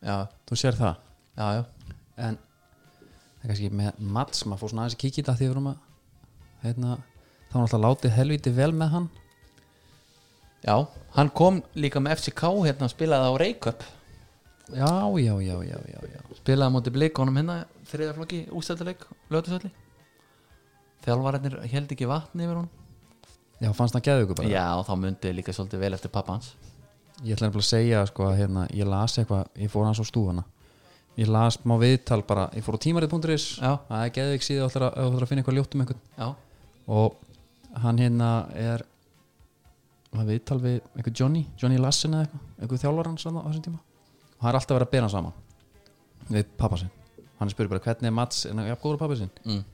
já, þú sér það já, já, en það er kannski með Mats maður fór svona aðeins að kíkja í þetta af því við vorum að hérna, þá var alltaf látið helviti vel með hann Já, hann kom líka með FCK hérna og spilaði á Reykjöp já, já, já, já, já, já. spilaði á móti blikonum hérna þriðaflokki ústættuleik, lötusölli þjálfararnir held ekki vatn yfir hún já fannst hann geðu ykkur bara Já, og þá myndi líka svolítið vel eftir pappa hans ég ætla nefnilega að segja sko, að, hérna, ég las eitthvað, ég fór hans á stúfana ég las má viðtal bara ég fór á tímarit.is Já. það er geðveik síðu og ætlar að, ætlar að finna eitthvað ljótt um einhvern Já, og hann hérna er hann viðtal við einhver Johnny, Johnny Lassen eða eitthvað einhver þjálfar hans þarna á þessum tíma og hann er alltaf að vera að bera hann saman við pappa sinn, hann spyrir bara hvernig er Mats en hann er jafn góður pappa sinn mm.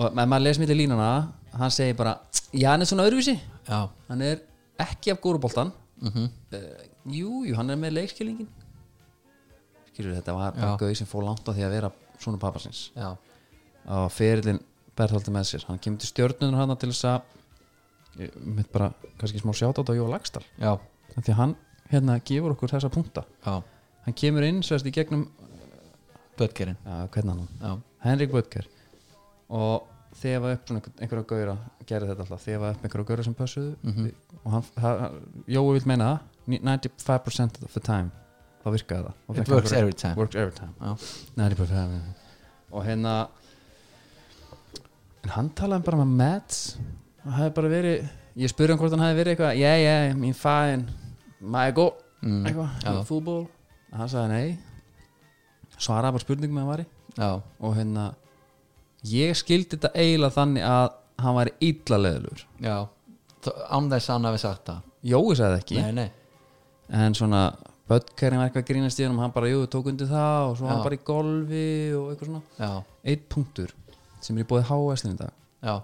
og ef maður les milli línana hann segir bara, já hann er svona öðruvísi já, hann er ekki af góruboltan mm uh, jú, jú, hann er með leikskilingin skilur þetta var bara Já. gauð sem fór langt á því að vera svona pappa sinns já. á ferilinn Bertholdi með sér hann kemur til stjörnunar hann til þess að ég mitt bara kannski smá sjátt á þetta á Jóa Lagstall já, því að hann hérna gefur okkur þessa punta já. hann kemur inn sérst í gegnum Böttgerinn ja, hvernig hann Já, Henrik Böttger og þefa upp svona einhver- einhverja gauðra gerði þetta alltaf, þefa upp einhverja gauðra sem pössuðu Mhm. og hann, hann Jói vil meina það 95% of the time þá virkaði það Og It fekk works hann- every time. works every time. Já. 90% og hérna en hann talaði bara með Mads hann hefði bara verið ég spurði hann hvort hann hefði verið eitthvað yeah yeah, I'm fine, my goal Mm. eitthvað, Já. fútból hann sagði nei svaraði bara spurningum með hann var í já, og hérna ég skildi þetta eiginlega þannig að hann væri illa leðilur já Þó- Án þess að hann hafi sagt það Jói sagði það ekki Nei, nei, en svona Böttkerinn var eitthvað að grínast í hann hann bara, jú, tók undir það og svo var Já. hann bara í golfi og eitthvað svona já, eitt punktur sem er í bóði H-Veslun í dag já,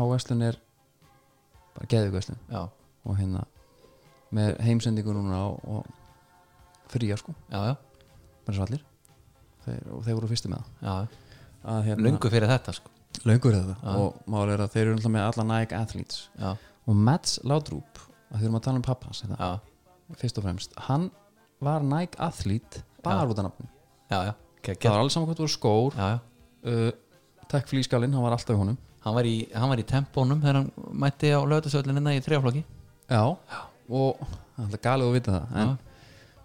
H-Veslun er bara geðugveslun já og hérna með heimsendingu núna og, og fría sko, Já, já, bara svo allir þeir, og þeir voru fyrstu með já það að, Lungu fyrir þetta sko löngur þetta og mál er að þeir eru alltaf með alla Nike athletes Já, og Mats Laudrup að þurfum að tala um pappans hérna, já, fyrst og fremst, hann var Nike athlete bara út af nafnum já, já það Kekja, var alls saman hvort voru skór já, já uh, takk flýskalinn, hann var alltaf í honum Hann var, í, hann var í tempónum þegar hann mætti á lögutasöllinina í þrjáflokki já, og það er galið að vita það en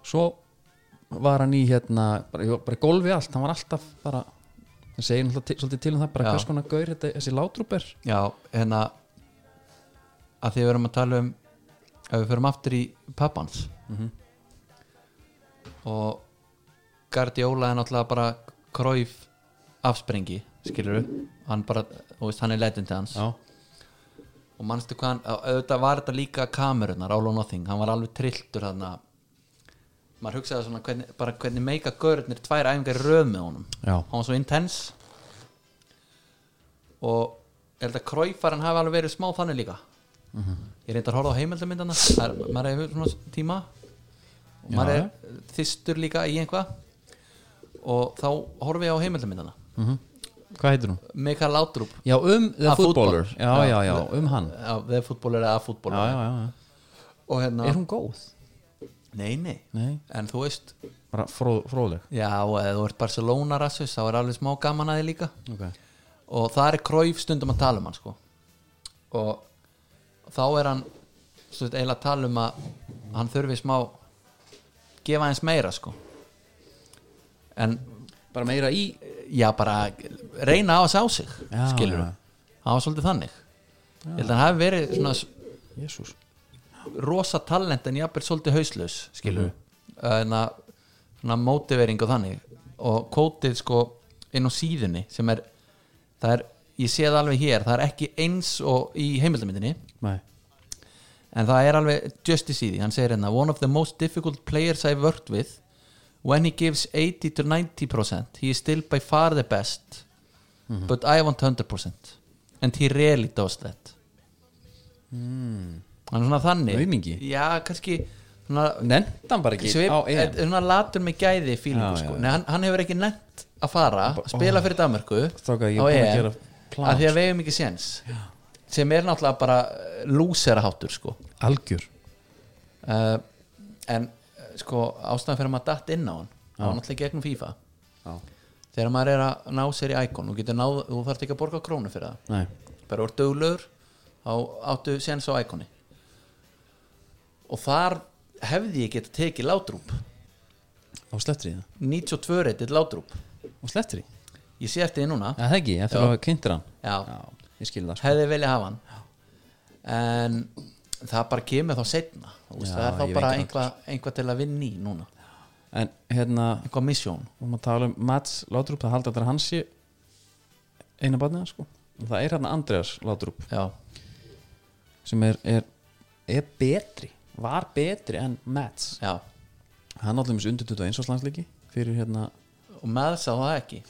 svo var hann í hérna, bara, jú, bara í golfi allt hann var alltaf bara það segir náttúrulega til- svolítið til um það, bara Já. hvers konar gaur þetta, þessi Laudrup er Já, hérna að því við erum að tala um ef við förum aftur í pappans og Guardiola er náttúrulega bara kræf afsprengi skilur hann bara, þú veist, hann er leitindi hans já, og manstu hvað hann, au- auðvitað var þetta líka kamerunar, All or Nothing, hann var alveg trilltur þarna maður hugsaði svona hvernig, bara hvernig meika görðnir tvær æfingar í röð með honum já, hann var svo intense og er þetta kræfar hann hafi alveg verið smá þannig líka Mhm. ég reyndar að horfa á heimildamindana Það er- maður hefur svona tíma og Já, maður já. er þystur líka í einhvað og þá horfi ég á heimildamindana hvað heitir hún? Mikael Laudrup já, um The A Footballer, Footballer. Já, já, já, um hann já, þegar fútbólur eða já, fútbólur já, já, já. og hérna er hún góð? nei, nei, nei, en þú veist bara fró, fróðleg já, eða þú ert Barcelona rassus þá er alveg smá gaman að þið líka okay. og það er kræf stundum að tala um hann sko. og þá er hann svo þetta eiginlega að tala um að hann þurfi smá gefa hans meira sko. en bara meira í já bara reyna á að sá sig Já, skilur já. hann var svolítið þannig ég held að hann hafi verið svona s- Jésús rosa talent en jafnvel svolítið hauslaus skilur en að svona mótivering og þannig og kótið sko inn á síðunni sem er, það er ég sé það alveg hér, það er ekki eins og í heimildamindinni Nei en það er alveg justice í því, hann segir hérna one of the most difficult players I've worked with when he gives 80 to 90% he is still by far the best Mhm. but I want 100% and he really does that Hmm. mm. hann er svona þannig Aumingi? já, kannski svona, Nefndi hann bara ekki svip, á eh, EM svona latur með gæði fílingu Já, sko. já, Nei, hann, hann hefur ekki nefnt að fara spila fyrir Danmarku Strákar, ég á er búinn að EM gera plan, sko. að því að við hefum ekki séns sem er náttúrulega bara lúseraháttur sko. Algjör uh, en eh, sko, ástæðan fyrir að maður datt inn á hann það var náttúrulega í gegnum FIFA Já. þegar maður er að ná sér í Icon þú, getur náð, þú þarft ekki að borga krónu fyrir það Nei bara úr döglegur þá áttu séns á Iconi og þar hefði ég geta tekið látrúp og slettri það 92 reytið látrúp og slettri, ég sé eftir því núna eða ekki, eftir að kynntir hann Já. já, ég skil það sko. hefði viljað hafa hann en það bara kemur þá setna veist, Já, það er ég þá veit bara það. einhvað, einhvað til að vinna í núna en hérna, einhvað misjón og maður tala um Mats Látrup, það haldi allir að hann sé eina barnið hans sko og það er hérna Andreas Látrup já, sem er, er, er betri var betri en Mats já. hann allir mis undir 21 slagsleiki fyrir hérna og með sá það ekki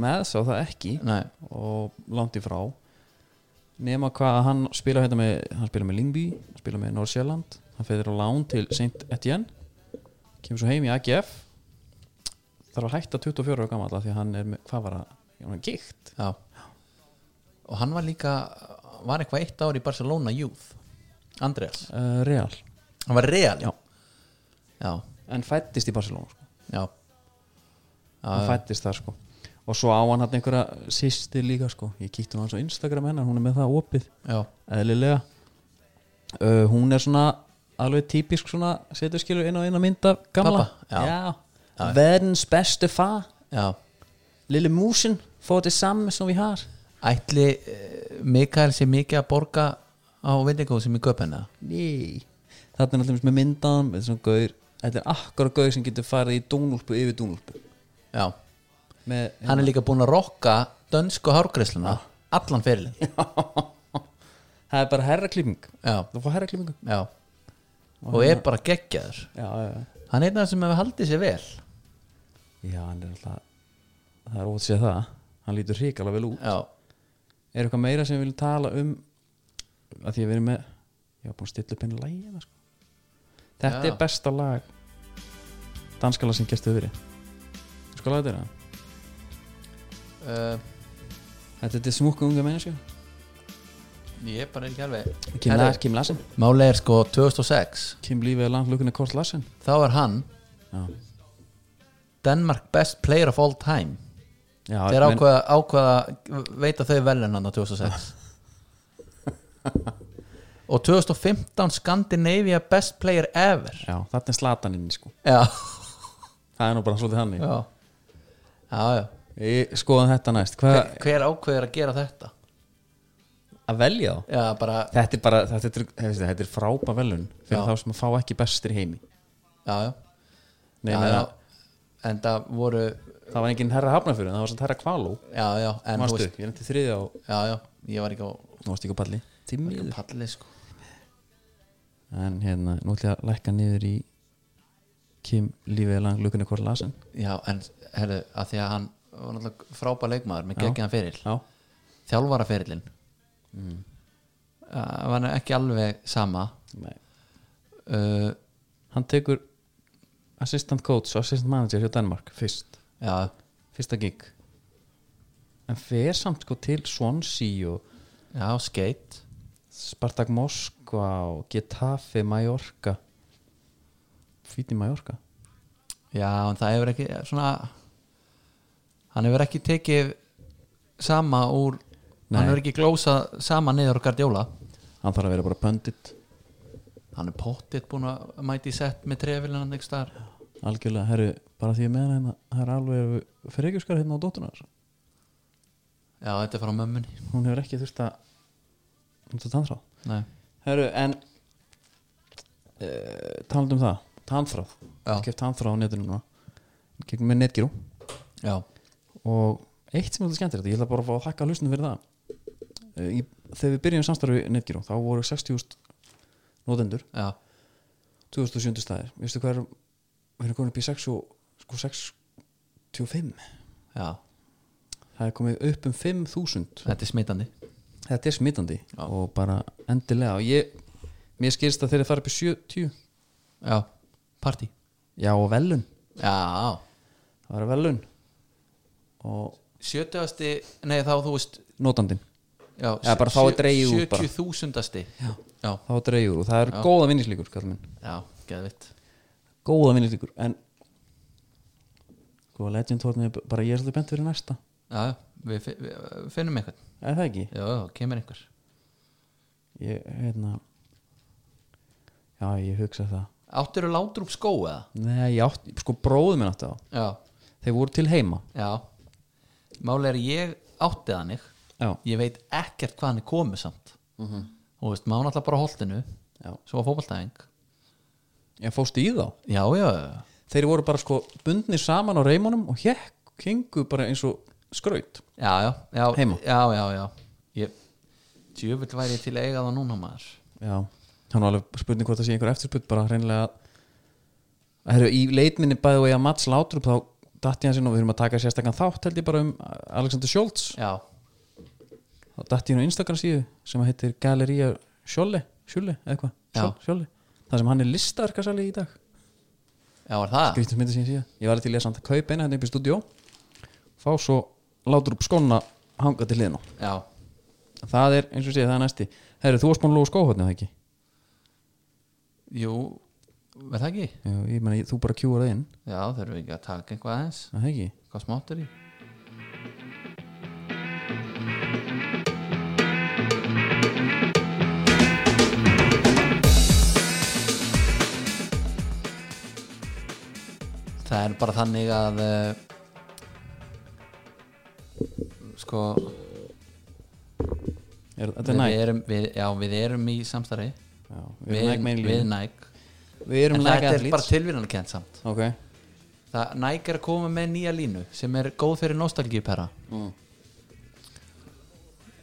með sá það ekki Nei. og langt í frá nema hvað að hann spila hérna með hann spila með Lingby, hann spila með Norrsjöland hann fyrir á lán til St. Etienne kemur svo heim í AGF þarf að hætta 24 ára gammal því að hann er með, hvað var að hann var gikt já. og hann var líka var eitthvað eitt ár í Barcelona Youth Andreas, uh, Real, hann var real Já. já, en fættist í Barcelona sko. já, hann fættist það sko og svo á hann hann einhverja sýsti líka sko ég kíkti hún hans á Instagram hennar, hún er með það opið já. eðlilega uh, hún er svona alveg típisk svona setur skilur inn á eina mynda gamla Pabba, já. verdens beste fa já. lille músin, fór þetta samme sem við har ætli eh, Mikael sé mikið að borga á veitingu sem í köpenna ný þetta er alltaf með myndan þetta er svona gaur, þetta er akkura gaur sem getur farið í dúnúlpu yfir dúnúlpu já, með hann er líka búin að rokka dönsku hárgreisluna allan fyrirlin það er bara herraklipping já, þú fór herraklippingu já og hérna. er bara geggjaður já, já, já. hann er einn af það sem hefur haldið sér vel já, hann er alltaf það er ótt séð það hann lítur hrikalega vel út já, er eitthvað meira sem við viljum tala um að því að við erum með ég var búin að stilla upp henni lægina sko. þetta Já. er besta lag danskala sem gerstu verið sko laga þetta er það uh, þetta er til smúka unga mennesku ég er bara ekki alveg Kim, Herra. Lars, Kim Larsen málega er sko 2006 Kim lífið er landlökunni Kort Larsen þá er hann já, Denmark best player of all time já þeir ákvaða, ákvaða að veita þau velunann á 2006 og 2015 Scandinavia best player ever já, þarna er slatan inn sko. já, það er nú bara svolítið hann í já, já, já. Ég skoðum þetta næst hvað Hver, hver ákveður að gera þetta að velja þá já, bara, þetta er bara þetta er, þetta er, þetta er frápa velun fyrir Já. þá sem að fá ekki bestir í heimi já, já, Nei, já, meina, já. en það voru það var enginn herra hafnafyrir það var samt herra kvalú já, já, en þú Manstu, veist ég er til þriði á já, já, ég var ekki á Nú varst ekki á palli Tímiður palli sko En hérna, nú ætlum ég að lækka niður í Kim lífið lang lukunni Kort Larsen já, en herru, að því að hann var náttúrulega frábær leikmaður með geggjana fyrir Já þjálfaraferillin Mm. það Uh, var ekki alveg sama Nei. uh, Hann tekur assistant coach og assistant manager hjá Danmark fyrst, já, fyrsta gig En fer samt sko til Swansea og já, skeitt Spartak Moskva og Getafe Mallorca Fíti Mallorca já, en það hefur ekki svona, hann hefur ekki tekið sama úr Nei. hann hefur ekki glósað sama niður á gardjóla Hann þarf að vera bara pöndit hann er pottitt búin að mæti sett með trefilin hann ekki þar Algjörlega, herru, bara því ég meðan hérna Það er alveg frekjuskar hérna á dóttunar já, þetta er frá mömmunni hún hefur ekki þurft að þurft að tannþráð Nei. Hörru, en uh, talandi um það tannþráð, Já. keft tannþráð á netinu núna gegnum með netgirú já, og eitt sem er þetta skemmtilegt, ég ætla bara að fá að þakka hlustinu fyrir það uh, í, þegar við byrjum samstarfi netgirú, þá voru 60.000 notendur, já, 2007 staðir veistu hvað er, við erum komin upp í 6 og, sko 65 já, það er komið upp um 5.000 þetta er smitandi þetta er smitandi Já. og bara endilega og ég, mér skilst að þeirra fara upp í 70 já, party já og velun, já, það var velun og 70. nei þá þú veist notandin Já, Já, bara fáið dregið út bara. 70.000 Já, já, þá dreigur og það eru góða vinnislíkur kallar minn, já, geðvitt góða vinnislíkur en sko legend hóðin bara ég er svolítið bent fyrir næsta Já, já, við, fi- við finnum einhvern er það ekki, Já, já, kemur einhver ég hérna já, ég hugsa það Áttur eru látrúb skó eða? Nei, ég átti, sko bróðu minn átti þá Já, Þeir voru til heima já Máli er ég átti þannig Já, Ég veit ekkert hvað hann er komið samt Þú veist, maður náttúrulega bara á holtinu Mhm. já Svo var fótballtæðing Ég fóstu í þá Já, já, já Þeir voru bara sko bundnir saman á reimunum og hekk, kengu bara eins og skraut Já, já, já Heima. Já, já, já Ég Djöfull væri ég til að eiga það núna maður Já, hann var alveg spurning hvort það sé einhver eftirspurn bara hreinlega að herru, í leitminni bæði og ég að Mats Látrup þá datt ég hans inn og við erum að taka sérstakann þátt held ég bara um Alexander Scholz Já, þá datt ég inn á Instagram síðu sem að heitir Galleria Sjólle Sjólle, eða hvað, Schol- Sjólle það sem hann er listaverkasali í dag já, er það grýttum myndi síðan síðan, ég var alveg til ég samt að kaupa eina hérna upp í stúdíó fá svo Látrup skóna hanga til hliðin á Já, það er, eins og sé, það er næsti herru, þú varst búin að lóða skóhotni, það ekki? jú Verð það ekki? Já, ég meni, þú bara kjúar það inn, Já, þurfum við ekki að taka eitthvað aðeins er það ekki? Hvað smátt er í? Það er bara þannig að uh, sko Er, þetta er við næg erum, við, já, við erum í samstarfi Já, við við, erum Nike við, main við lead Nike Við erum en Nike þetta er bara athletes tilvíðanakent samt Ok það, Nike er að koma með nýja línu sem er góð fyrir nostalgíupera Mm.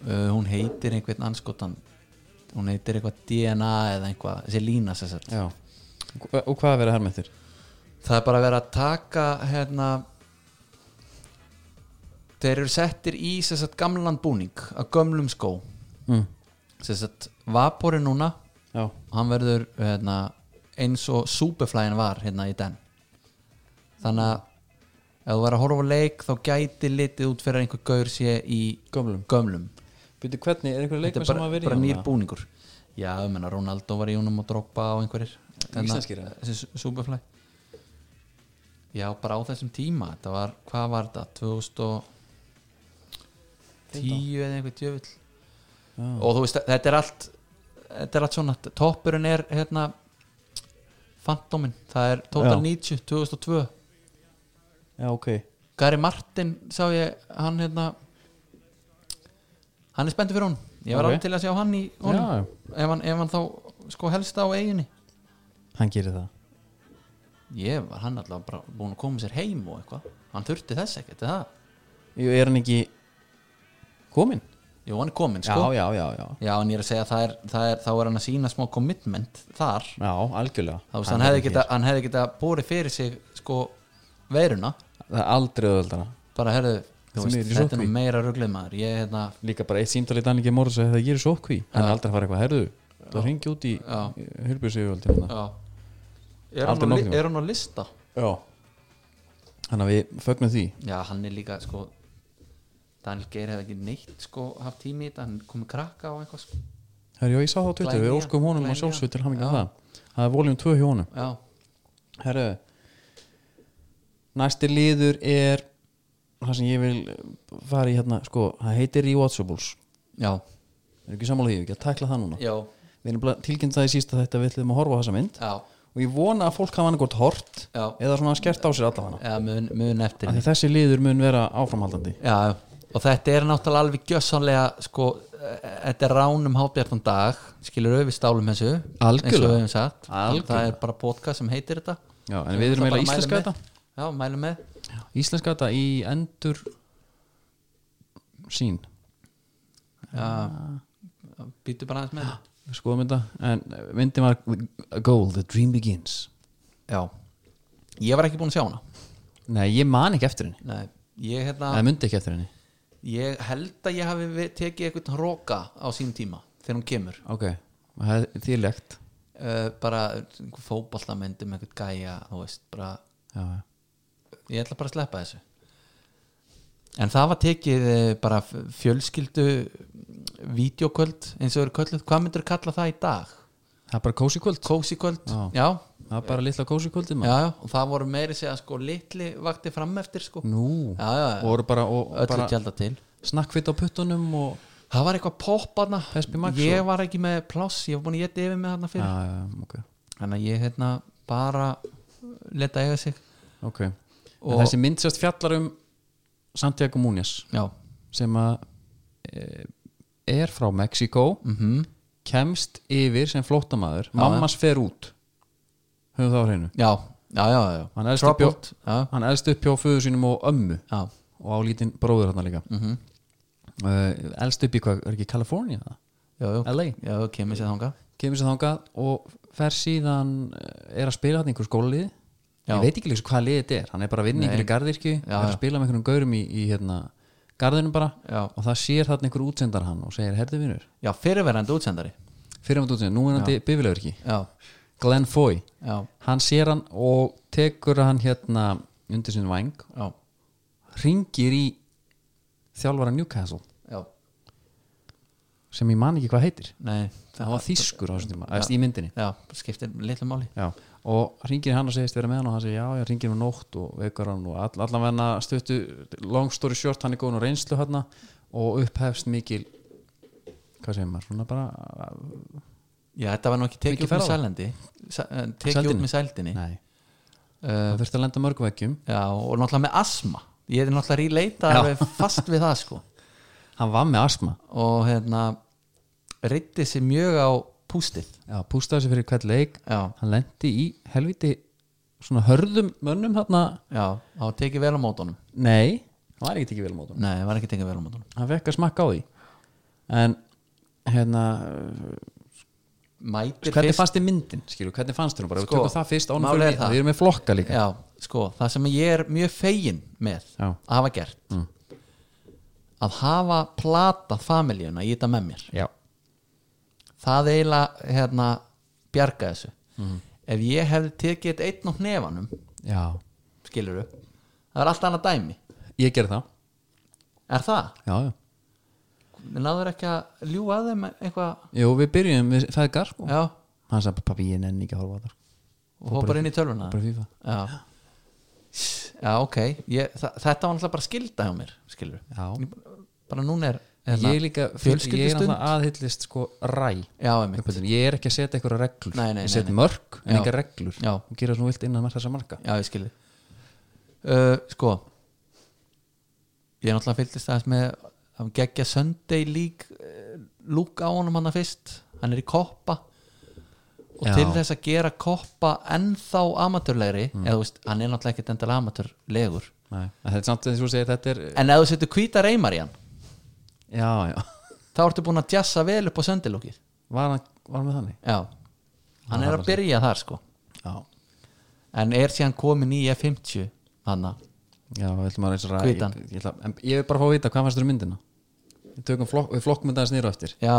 uh, hún heitir einhvern anskotan hún heitir eitthvað DNA eða eitthvað, þessi lína sér sett Já Og hva- Og hvað er verið að hermettir? það er bara að vera að taka hérna þeir eru settir í sér sett gamlan búning að gömlum skó Mm. sér sett vapori núna Já hann verður hérna, eins og Superflyin var hérna í den þannig að ef þú verður að horfa á leik þá gæti litið út fyrir að einhver gaur sé í Gömlum gömlum Býtu hvernig, er einhver þetta leikmenn er sem að bara, verið bara nýr búningur já, ég menna Ronaldo var í honum og Drogba og einhverjir Hérna, Íslenskir, eða? þessi Su- Superfly já, bara á þessum tíma þetta var, hvað var þetta 2010 eða einhver djöfull Já. og þú veist, þetta er allt þetta er allt svona, toppurinn er hérna Fantomin, það er Total Já. 90 2002, Já, ok Gary Martin sá ég, hann hérna hann er spenntur fyrir hún ég var Ok. alveg til að sjá hann í honum Já, ef hann, ef hann þá sko helst á eiginni hann gerir það ég var hann alltaf bara búin að koma sér heim og eitthvað hann þurfti þess ekkert er það? Jú, er hann ekki kominn? jú hann er komin sko já, já, já en ég er að segja það er, það er, þá er hann að sína smá commitment þar Já, algjörlega þá veist hann, hefði geta, hann hefði geta búið fyrir sig sko veiruna Það er aldrei öðvöldana bara herðu Því þú veist, miður í þetta er sóttkví. nú meira ruglið maður ég hérna Líka bara eitt símtalið Danningi Mórs að það gerir sótkví Hann er aldrei að fara eitthvað herðu Það ringi út í hérna." Já. hulbjörnsauðvöldina já. er, hann Aldrei á, nokkuð. li- er hann á lista Já Þannig að við fögnum því já hann er líka sko Daniel Geir hefði ekki neitt sko haft tími í þetta hann komið krakka og eitthvað sko Herri, já, ég sá það á Twitter, við Glænýja, óskum honum að glænýja. sjálfsveit til haminga Já. það Það er voljum 2 hjá honum já Herru, næsti liður er það sem ég vil fara í hérna sko, það heitir Rewatchables já Við erum ekki sammála því, við erum ekki að tækla það núna já Við erum bara tilkynnt það í sísta þetta við ætlum að horfa á þessa mynd já og ég vona að fólk hafa hann gott hort Já. eða svona skert á sér allafana Já, mun, mun eftir Því þessi liður mun vera áframhaldandi Já, og þetta er náttúrulega alveg gjössanlega sko, eh, þetta er ránum hátbjartan dag skilur við stálum þessu Algjörlega. eins og við höfum sagt Algjörlega. það er bara podcast sem heitir þetta Já, en við erum Það eiginlega bara mælum íslenska með. þetta Já, mælum með Íslenska þetta í endur sín Ah. Já, býtu bara aðeins með þetta. Við skoðum þetta en eh, myndin var A Goal, The Dream Begins Já, ég var ekki búin að sjá hana Nei, ég man ekki eftir henni Nei, ég, Það hérna, myndi ekki eftir henni ég held að ég hafi vi- tekið eitthvað hróka á sínum tíma þegar hún kemur Ok, það er þýrlegt uh, bara fótballtamendi með eitthvað gæja þú veist, bara Já, já. ég ætla bara að sleppa þessu en það var tekið eh, bara f- fjölskyldu videoköld eins og eru kölluð, hvað myndur kalla það í dag? það er bara kósi kvöld Kósi köld? Já. Mm. Já, Það er bara litla kósi kvöldið já, maður já, og það voru meiri segja sko litli vakti fram eftir sko Nú, Já, já, og voru bara, Mm. og, öllu bara tjálda til snakkfitt á puttunum og Það var eitthvað popparna, Pespi Max ég var ekki með pláss, ég var búin að geta yfir með þarna Já, fyrir já, ok þannig að ég hérna bara leta eiga sig ok og Og- þessi mynd sérst fjallar um Santiago Múnias já, sem að eh, er frá Mexíkó mhm kemst yfir sem flóttamaður mammas fer út höfum það á hreinu já, já, já, já, já. Hann elst upp hjá- Troubled, já, hann elst upp hjá föður sínum og ömmu já, mhm. og á lítinn bróður hann líka mm elst upp í hvað, er ekki California það? já, já, LA já, já kemur sér þangað kemur sér þangað og fer síðan eh, er að spila hann einhver skólið Já. ég veit ekki líka hvað liðið þetta er hann er bara að vinna í einhverju garðirkju er að spila með einhverjum gaurum í, í hérna, garðinum bara Já. og það sér þarna einhver útsendar hann og segir herðu vinur, já, fyrirverandi útsendari fyrir hann útsendar nú er hann bifilegur ekki, já, Glenn Foy já, hann sér hann og tekur hann hérna undir sinn væng já, ringir í þjálfara Newcastle já sem ég man ekki hvað heitir nei, það var þýskur á þessum tíma, eða í myndinni já, skiptir litlu máli já. og hringir í hann og segist vera með hann og hann segir já, ég hringir um nótt og veikar hann og all, allan verna stuttu long story short, hann er góðin og reynslu hann og upphefst mikil hvað segir maður, svona bara já, þetta var nú ekki Mikið tekið út með ferðalag. sælendi Sæ- eh, tekið Sældinni? út með sældinni nei, uh, það þurfti að lenda mörgveggjum já, og náttúrulega með asma ég er náttúrulega ríleita Já. alveg fast við það sko hann var með asma, og hérna reytti sér mjög á pústið já, pústaði sér fyrir hvert leik já, hann lendi í helviti svona hörðum mönnum þarna já, þá tekið vel á mótunum nei, hann var ekki ekki vel á mótunum nei, það var ekki tekið vel á mótunum hann fekk að smakka á því en hérna mætir hvernig fyrst fannst þið myndin, skilur, hvernig fannst þið hún bara við Sko, tökum það fyrst ánum málið fyrir er það. við erum með flokka líka já, sko, það sem ég er mjög fegin með Já. Mm. að hafa gert að hafa platað familíuna í þetta með mér Já, það eiginlega hérna, bjarga þessu Mhm. ef ég hefði tekið þetta einn á hnefanum já skilur það er allt annað dæmi Ég gerði það er það? já, já. Við náður ekki að ljúga að þeim eitthvað Jú, við byrjum við feðgar sko. já, Hann sagði, pappi, ég nenni ekki að horfa á það sko. og hoppar inn í tölvuna Bara FIFA já já, ok, ég, þa- þetta var náttúrulega bara skilda hjá mér skilur Já, bara núna er ég er líka Hérna, fjölskyldustund. Ég er náttúrulega aðhyllist sko ræ já, einmitt Uppöldin. Ég er ekki að setja eitthvað reglur Nei, nei, Ég nei, set nei. mörg, en Já. ekki reglur Já. Þú gerir það svona vilt innan margt þessa marka Já, ég skilði uh, Sko Ég er náttúrulega fylgist aðeins með að geggja Sunday League uh, lúk á honum hann fyrst hann er í koppa og Já. til þess að gera koppa ennþá amatörlegri eða þú veist, hann er náttúrulega ekkert endala amatörlegur Nei. En Þetta er samt að þú segir, þetta er en ef þú setur hvíta reymar í hann Já, já þá ertu búin að jassa vel upp á Sunday lúkið Var hann, var hann með þannig? Já, hann er að byrja þar sko Já en er síðan komin í F50 hann að Já, við ætlum að reysa ræ Hvítan. Ég, ég, ætla- en ég vil bara fá að vita, hvað fannst þér um myndina? Við tökum flokk, við flokkmyndaðast nýra eftir Já,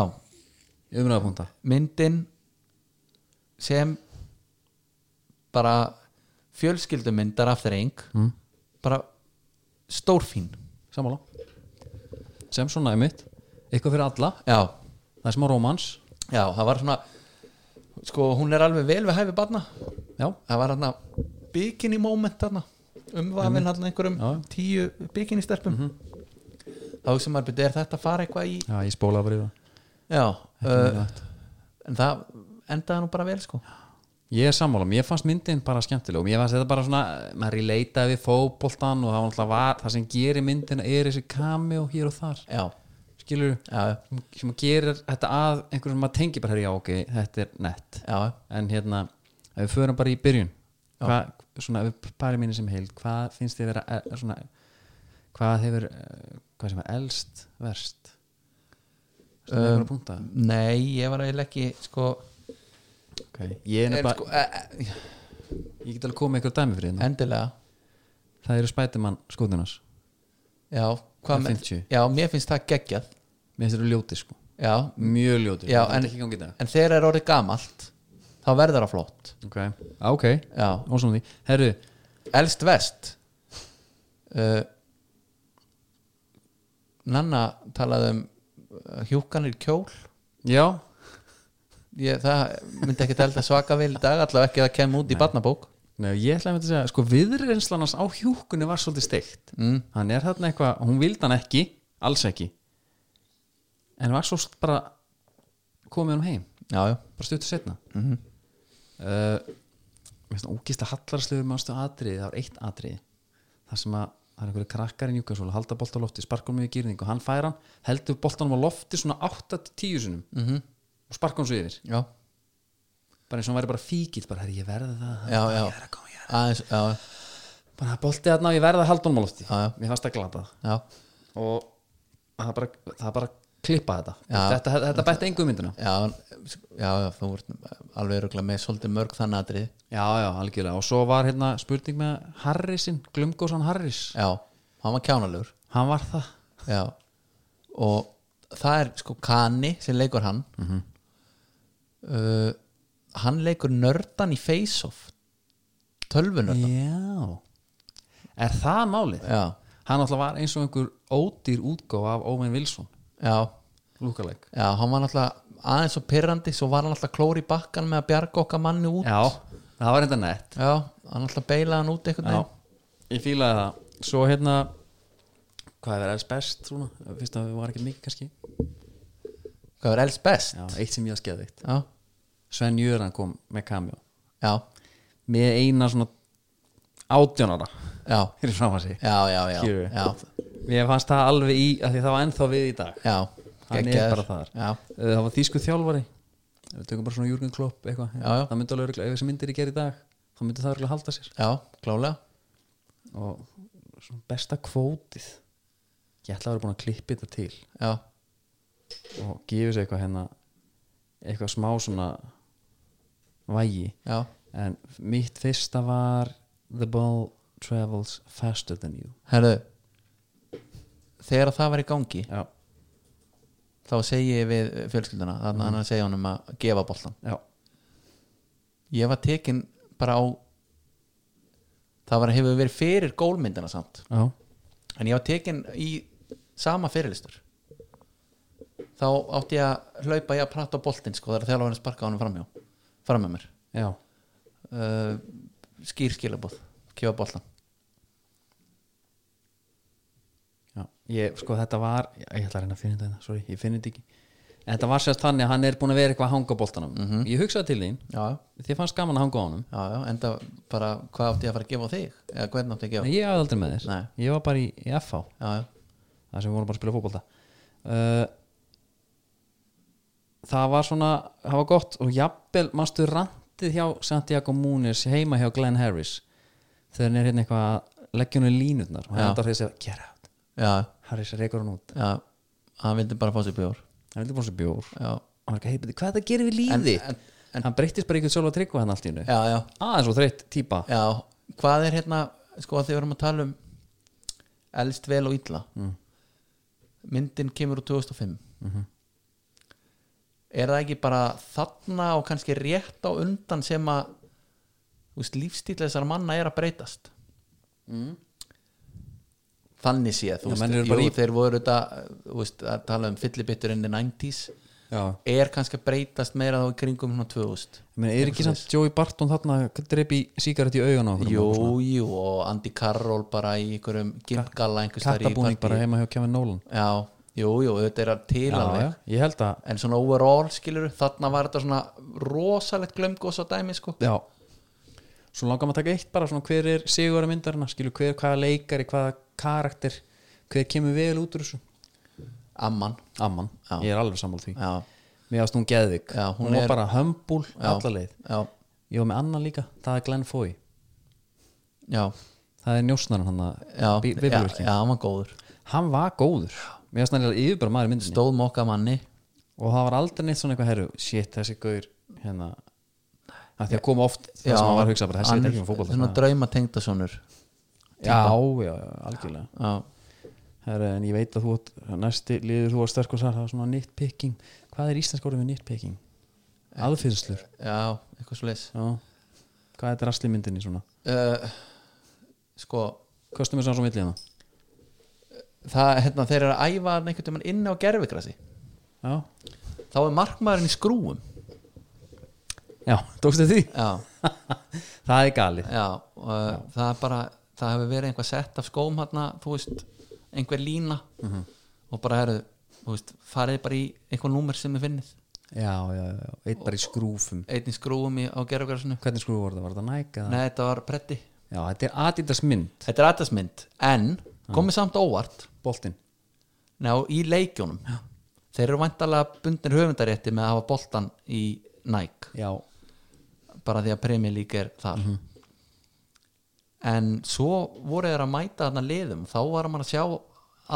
Umræðapunta myndin sem bara fjölskyldumyndar aftur eng mm. bara stórfín Samála Sem svona einmitt Eitthvað fyrir alla já, Það er smá rómans já, það var svona sko, hún er alveg vel við hæfi barna Já, það var hann að bikini moment hann umvafin hann einhverjum Já. Mhm. tíu bikini stelpum þá sem maður byrja, er þetta að fara eitthvað í já ég spólaði bara í það já, uh, en það endaði nú bara vel sko Ég er sammála, mér fannst myndin bara skemmtileg og mér fannst þetta bara svona, maður í leitaði við fótboltan og það var alltaf var það sem gerir myndina er þessi kami og hér og þar já, skilur já, sem gerir þetta að einhverjum sem maður tengi bara herri, já ok, þetta er nett já, en hérna, ef við förum bara í byrjun hva, svona, ef við parið minni sem heild hvað finnst þið vera eh, svona, hvað hefur eh, hvað sem er elst, verst sem um, að punkta nei, ég var eiginlega ekki sko okay. ég, er en, nefnilega, sko, e, e, ég get alveg komið með eitthvað dæmi fyrir þetta endilega það eru spætumann skotunars já, hvað Það með- 50. já, mér finnst það geggjað mér finnst þetta ljóti sko, já, mjög ljóti Já, Þetta en- er ekki gangið það en þegar er orðið gamalt þá verður það flott ok, ah, ok, já, ósum því herru, elst vest uh, Nanna talaði um uh, hjúkanir kjól já ég, það myndi ekki telda svaka vel í dag allavega ekki að það kem út í barnabók Nei, ég ætla að mynda að segja, sko viðreynslan hans á hjúkunni var svolítið steikt Mm. hann er þarna eitthvað, hún vildi hann ekki alls ekki en var svo st- bara komið hann heim, já, já, Mhm. bara stuttu setna uh, ógista hallarslegur mannstu atriði, það var eitt atriði þar sem að það er einhverju krakkar í njúkasóla halda bolta á lofti, sparkar mig í gyrning og hann fær hann heldur boltanum á lofti svona 8-10 sinum Mhm. -hmm. og sparkar hann svo yfir já, bara eins og hann væri bara fíkil, bara herri ég verði það já, já. ég er að koma, ég er aðeins, já, að bara bolti þarna og ég verði að halda honum á lofti Já, já. mér fannst að glata það já, og það bara, það bara klippa þetta Já. þetta, þetta, þetta bætti engu í myndina já, já, já þú vart alveg öruglega með svolítið mörg þann atrið já, já, algjörlega og svo var hérna spurning með Harrisin, Glumgósan Harris já, hann var kjánalegur hann var það já, og það er sko Kani sem leikur hann Mhm. uh, hann leikur nördan í face-off tölvunördan já, er það málið? já, hann alltaf var eins og einhver ódýr útgáfa af Owen Wilson já, lúkaleg já, hann var náttúrulega aðeins og pyrrandi, svo var hann alltaf klóri í bakkan með að bjarga okkar manni út já, það var enda nett já hann alltaf beilaði hann út einhvern já, veginn ég fílaði það svo hérna hvað er verið best svona, fyrst að við var ekki mikið kannski hvað er elst best já, eitt sem ég að skeða eitt já, Sven Jöran kom með kamjó já, með eina svona átjónara já, fyrir fram að sig já, já, já, Skilurðu? já, mér fannst það alveg í, af því það var ennþá við í dag já. Hann er geggjaður. bara þar. já, Uh, það var þýsku þjálfari við tökum bara svona Jürgen Klopp eitthvað Já, já. það myndi alveg örugglega- ef þessi myndir í gerð í dag þá myndi það örgulega halda sér já, klálega og svona besta kvótið ég ætla að vera búin að klippi þetta til já, og gefa sér eitthvað hérna eitthvað smá svona vægi já, en mitt fyrsta var the ball travels faster than you herðu þegar það var í gangi já, þá segi ég við fjölskylduna þannig að hann segi honum að gefa boltan já, ég var tekin bara á það var hefur verið fyrir gólmyndina samt já, en ég var tekin í sama fyrirlistur þá átti ég að hlaupa ég að prata á boltinn sko þegar þjálfarinn sparkaði honum framjá fram með mér já, uh, skýr skilabóð kjóða boltan já. Ég, sko þetta var ég ég ætla að reyna að finna þetta, sorry, ég finna þetta ekki en þetta var sérst þannig að hann er búin að vera eitthvað að hanga á boltanum, Mhm. ég hugsaði til þín já, þið fannst gaman að hanga á honum já, já, enda bara hvað átti ég að fara að gefa á þig eða hvernig átti ég að en gefa ég hafði aldrei með þér, Nei. ég var bara í, í FH já, já, það sem við vorum bara að spila fótbolta uh, það var svona það var gott og jafnvel mannstu rantið hjá Santiago Múnis heima hjá Glenn Harris þegar hann er hérna eitthvað að leggja hún í línutnar og hann Já. endar þessi að get out já, Harris reikur hann út, já hann vildi bara fá sér bjór hann vildi búin sér bjór já, og hann er ekki að heipið, hvað er það að gera við líði en, hann breyttist bara ykkur sjálf að tryggva hann allt í hennu já, já aðeins og þreytt típa Já, hvað er hérna sko að þið verðum að tala um elst vel og illa mm. myndin kemur úr 2005 Mhm. er það ekki bara þarna og kannski rétt á undan sem að þú veist, lífstíl þessar manna er að breytast þannig séð Mm. Já, þú veist, menn eru jú, bara í- þeir voru þetta þú veist, að tala um fyllibitturinn í 90s já. er kannski að breytast meira þá í kringum svona 2000 Meni, er ekki samt Joey Barton þarna dreipi sígaret í augun á okkur Jú, jú, og Andy Carroll bara í einhverjum gimpgalla einhvers staðar í kattabúning bara partíi. heima hjá Kevin Nolan Já, jú, jú, þetta er að til alveg já, ég held að En svona overall, skilur, þarna var þetta svona rosalegt glömgós á dæmi, sko Já Svo langar maður að taka eitt bara svona hver er sigur að myndarina, skilur hver, hvaða leikari, hvaða karakter, hver kemur vel út úr þessu Amman, Amman, Já. ég er alveg sammála því já, Mér ást hún geðvik, Já, hún hún var er- bara hömbúl alla leið já, Ég var með annan líka, það er Glenn Foy já Það er njósnarinn hann að Já, bí- já, bifurverkin. já, hann var góður Hann var góður, mér ást hann yfir bara maður í myndinni Stóð mokka manni Og það var aldrei neitt svona eitthvað herru, shit þessi gaur hérna Það því að koma oft það sem hann var að hugsa bara, þessi hann er er ekki um fótbolta Svona drauma tengdasonur Já, já, já, algjörlega Já, Herra, en ég veit að þú átt, næsti liður þú að sterkur þar, það var svona nitpicking hvað er íslensk orðið við nitpicking? aðfinnslur já, eitthvað svo leis Já. hvað er þetta rastli í myndinni svona? uh, Sko, kostum við svona svo milli hérna. hana það, hérna, þeir eru að æfa hann einhvern veginn inni á gerfigrasi já, þá er markmaðurinn í skrúum já tókstu því? já, það er galið já, og, já. það er bara það hefur verið einhver sett af skóm hérna, þú veist, Mhm. einhver lína og bara eru, þú veist, farið bara í einhver númer sem er finnið já, já, já, eitt bara í skrúfum einn í skrúum í, á gerafgrassinu hvernig skrúf var það, var það næk eða? Nei, þetta var bretti já, þetta er Adidas mynd, Þetta er aðdæsmynd, en komið samt óvart boltinn ná, í leikjónum Þeir eru væntalega bundin höfundarétti með að hafa boltan í Nike já, bara því að Premier League er þar Mhm. En svo voru þeir að mæta þarna liðum þá var maður að sjá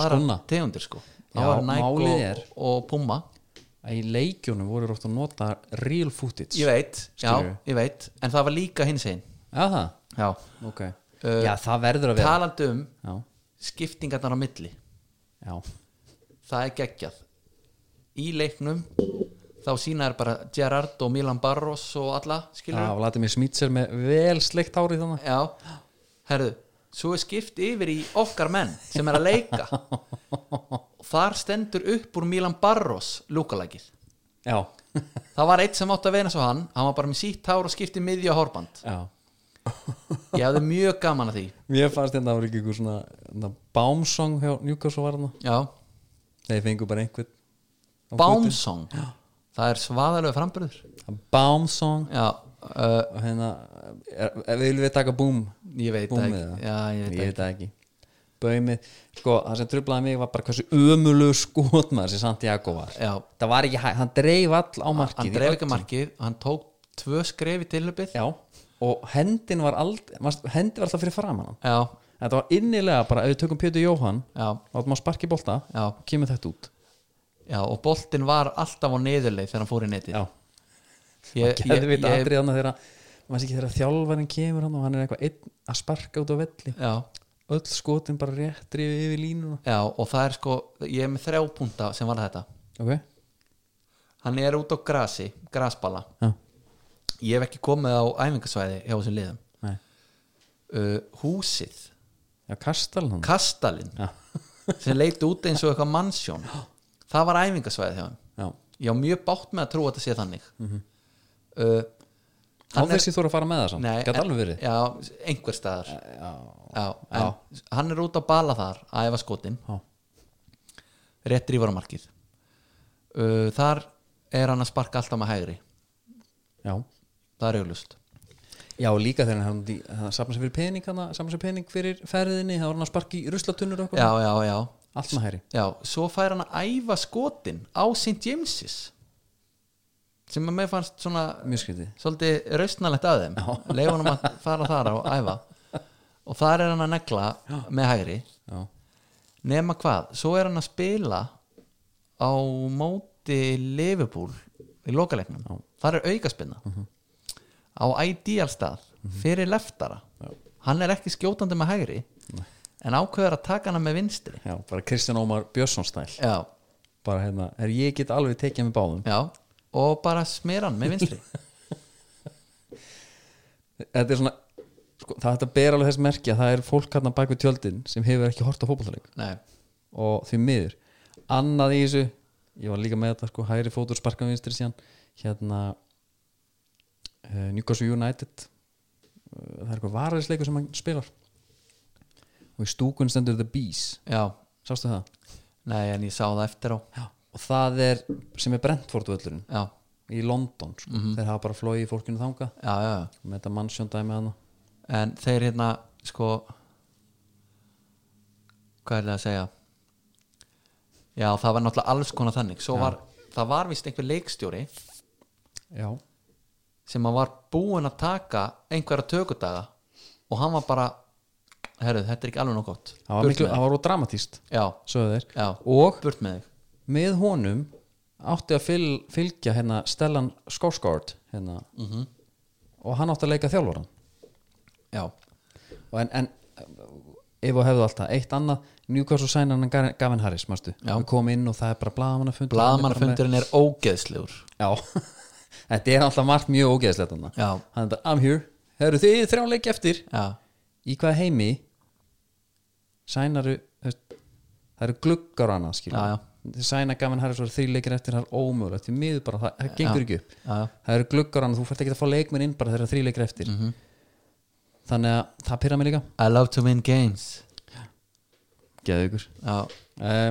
aðra Skóna. tegundir sko Þá Já, var Nike málið og, er- og Puma að í leikjónum voru oft að nota real footage Ég veit, já, Skilurðu? ég veit En það var líka hins einn já, það, Já, ok Uh, já, það verður að vera talandi um já, skiptingarnar á milli já, það er geggjað í leiknum þá sína er bara Gerard og Milan Barros og alla, já, skilur Vladimir Smítser með vel sleikt hári þannig já, herðu svo er skipt yfir í okkar menn sem er að leika og þar stendur upp úr Milan Barros lúkalækið já, það var eitt sem átti að veina svo hann hann var bara með sítt hár og skipti miðja hórband já ég hafði mjög gaman að því Mér fannst hérna að það var ekki einhver svona, svona bámsong hjá Newcastle var hana já, Þeir fengu bara einhvern á götu. Bámsong það er svaðalög framburður Bámsong já, uh, og hérna er, er, viljum við taka búm ég veit það búmið ekki það? já, ég veit það ég veit það ekki Bömið, sko, það sem trublaði mig var bara hversu ömulegu skotmaður sem Santiago var Já. Það var ekki hægt, hann dreif all á markið hann í dreif öll- ekki markið hann tók tvö skref í tilhjöpið já. Já, og hendin var allt hendi var alltaf fyrir framan hann já, Þetta var innilega bara, ef við tökum Pétur Jóhann já, látum að sparki bolta, já, kemur þetta út og boltinn var alltaf á neðurleið þegar hann fór í netið Já, ég, ég veit aðrið hann þegar maður sé ekki þegar þjálfarinn kemur hann og hann er eitthvað einn að sparka út á velli já, öll skotin bara rétt drifið yfir línuna já, og það er sko ég er með þrjá punta sem var þetta ok, hann er út á grasi, grasballa já, ég hef ekki komið á æfingasvæði hjá þessum liðum nei uh, húsið, já, kastal hann kastalinn já, sem leiti út eins og eitthvað mannsjón það var æfingasvæði hjá hann já, ég á mjög bátt með að trúa að þetta sé þannig mm Mhm. -hmm. á þessi þú að fara með það samt Nei, gæti en- alveg verið Eh, Já, einhver staðar já, Já, en hann er út að bala þar að efa skotin, já, rétt drífur á markið uh, Þar er hann að sparka alltaf með hægri já Það er auglust já, og líka þegar hann, hann sapna sér fyrir pening hann sapna sér pening fyrir ferðinni þá var hann að sparki í ruslatunnur okkur Já, já, já allt með hæri Já, svo fær hann að æfa skotin á St. James's sem að mér fannst svona mjög skrítið svolítið rausnalegt að þeim leifa hann að fara þar á æfa og þar er hann að negla með hægri já, nema hvað, svo er hann að spila á móti Liverpool í lokaleiknum þar er aukaspinna á ideal stað fyrir leftara hann er ekki skjótandi með hægri en ákveður að taka hana með vinstri já, bara Kristján Ómar Björnsson stæl já, bara hérna, er ég get alveg tekið með báðum já og bara smera hann með vinstri þetta er svona sko, það þetta ber alveg þess merki að það er fólk hérna bak við tjöldin sem hefur ekki hort á fótballleik Nei, og því miður annað í þessu, ég var líka með þetta sko, hægri fótur sparkan vinstri síðan hérna uh, Newcastle United uh, það er eitthvað varðisleiku sem hann spilar og í stúkun stendur The Bees, já, sástu það? nei en ég sá það eftir á Já. og það er, sem er Brentford völlurinn já, í London, sko. þeir hafa bara flóið fólkinu þanga já, já, já með þetta mannsjóndæmi hana en þeir hérna sko hvað er það að segja já það var náttúrulega alls konar þannig svo var, það var vist einhver leikstjóri já, sem að var búin að taka einhverja tökudaga og hann var bara herru þetta er ekki alveg nóg gott það var, Burt miklu, með þig. það var úr dramatíst já, sögðu þeir já, og burt með þig með honum átti að fyl, fylgja hérna Stellan Skorsgaard hérna Mhm. og hann átti að leika þjálfvaran já, og en, en ef og hefðu alltaf eitt annað Newcastle sænan hann Gavin Harris marstu. Já. við komum inn og það er bara blaðamannafundur blaðmannafundurinn er ógeðslegur já, þetta er alltaf margt mjög ógeðslegt hann já, hann er bara I'm here, herru þið þrjá leik eftir já, í hvað heimi sænaru þú veist, það eru gluggar á annað skilur Já, já. Þið sæna Gavin Harris var þrý leikir eftir það er ómögulegt, því miður bara, það, það gengur ekki upp já, já. það eru gluggar á annað, þú fært ekki að fá leikmenn inn bara þegar þrý leikir eftir Mhm. -hmm. þannig að það pyrra mig líka I love to win games geðu ykkur já, Eh, uh,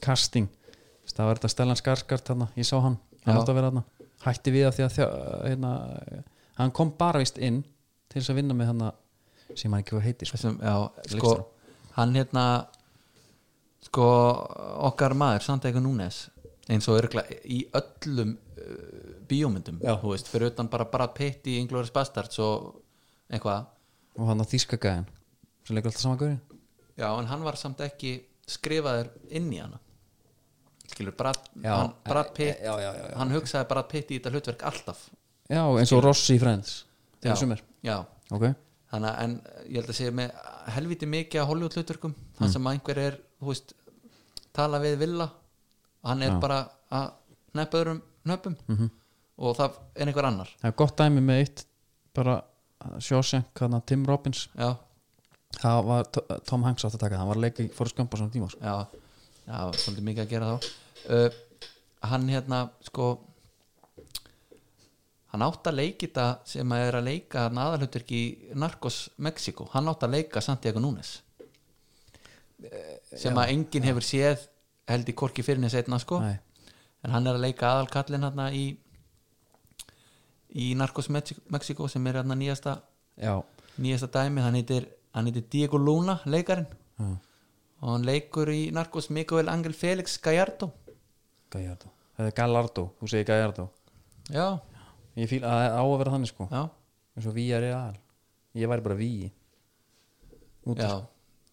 casting, Þú veist, það var þetta Stellan Skarsgård þarna, ég sá hann hann Já. átti að vera hann hætti við að því að þjá, hérna, hann kom bara vist inn til þess að vinna með hann sem hann ekki var heiti sko. Þessum, já, sko, Leikstjóra. hann hérna sko, okkar maður Santiago Núnes eins og örgla í öllum uh, bíómyndum, Já. þú veist, fyrir utan bara bara pitt í Inglourious Bastards og eitthvað, og hann að þýska gæðin sem leikur alltaf saman gaurinn já, en hann var samt ekki skrifaður inn í hana skilur, Brad, Já. e- hann, Brad Pitt Já, já, já, já. hann hugsaði Brad Pitt í þetta hlutverk alltaf já eins og Rossi í Friends Já. þegar sumir já, ok þannig að en ég held að segja með helviti mikið að Hollywood hlutverkum þannig sem einhver er, þú veist tala við villa, hann er Já. bara að neppa öðrum nöppum -hmm. og það er einhver annar það er gott dæmi með eitt bara Shawshank hann að Tim Robbins já, það var T- Tom Hanks átt að taka það hann var að leika í Forrest Gump á saman tíma sko. já, já, svolítið mikið að gera þá uh, hann hérna, sko hann átt að leiki þetta sem að er að leika naðalhutverk í Narcos Mexico, hann átt að leika Santiago Núnes sem að enginn hefur séð held í korki fyrir neins einna sko Nei. en hann er að leika aðalkallin hérna í í Narcos Mexi- Mexico sem er hérna nýjasta já, nýjasta dæmi, hann heitir, hann heitir Diego Luna, leikarinn já. og hann leikur í Narcos Miguel Angel Felix Gallardo Gallardo það er Gallardo, þú segir Gallardo já, ég fíl að það á að vera þannig sko já, eins og VR er aðal ég væri bara VI Út já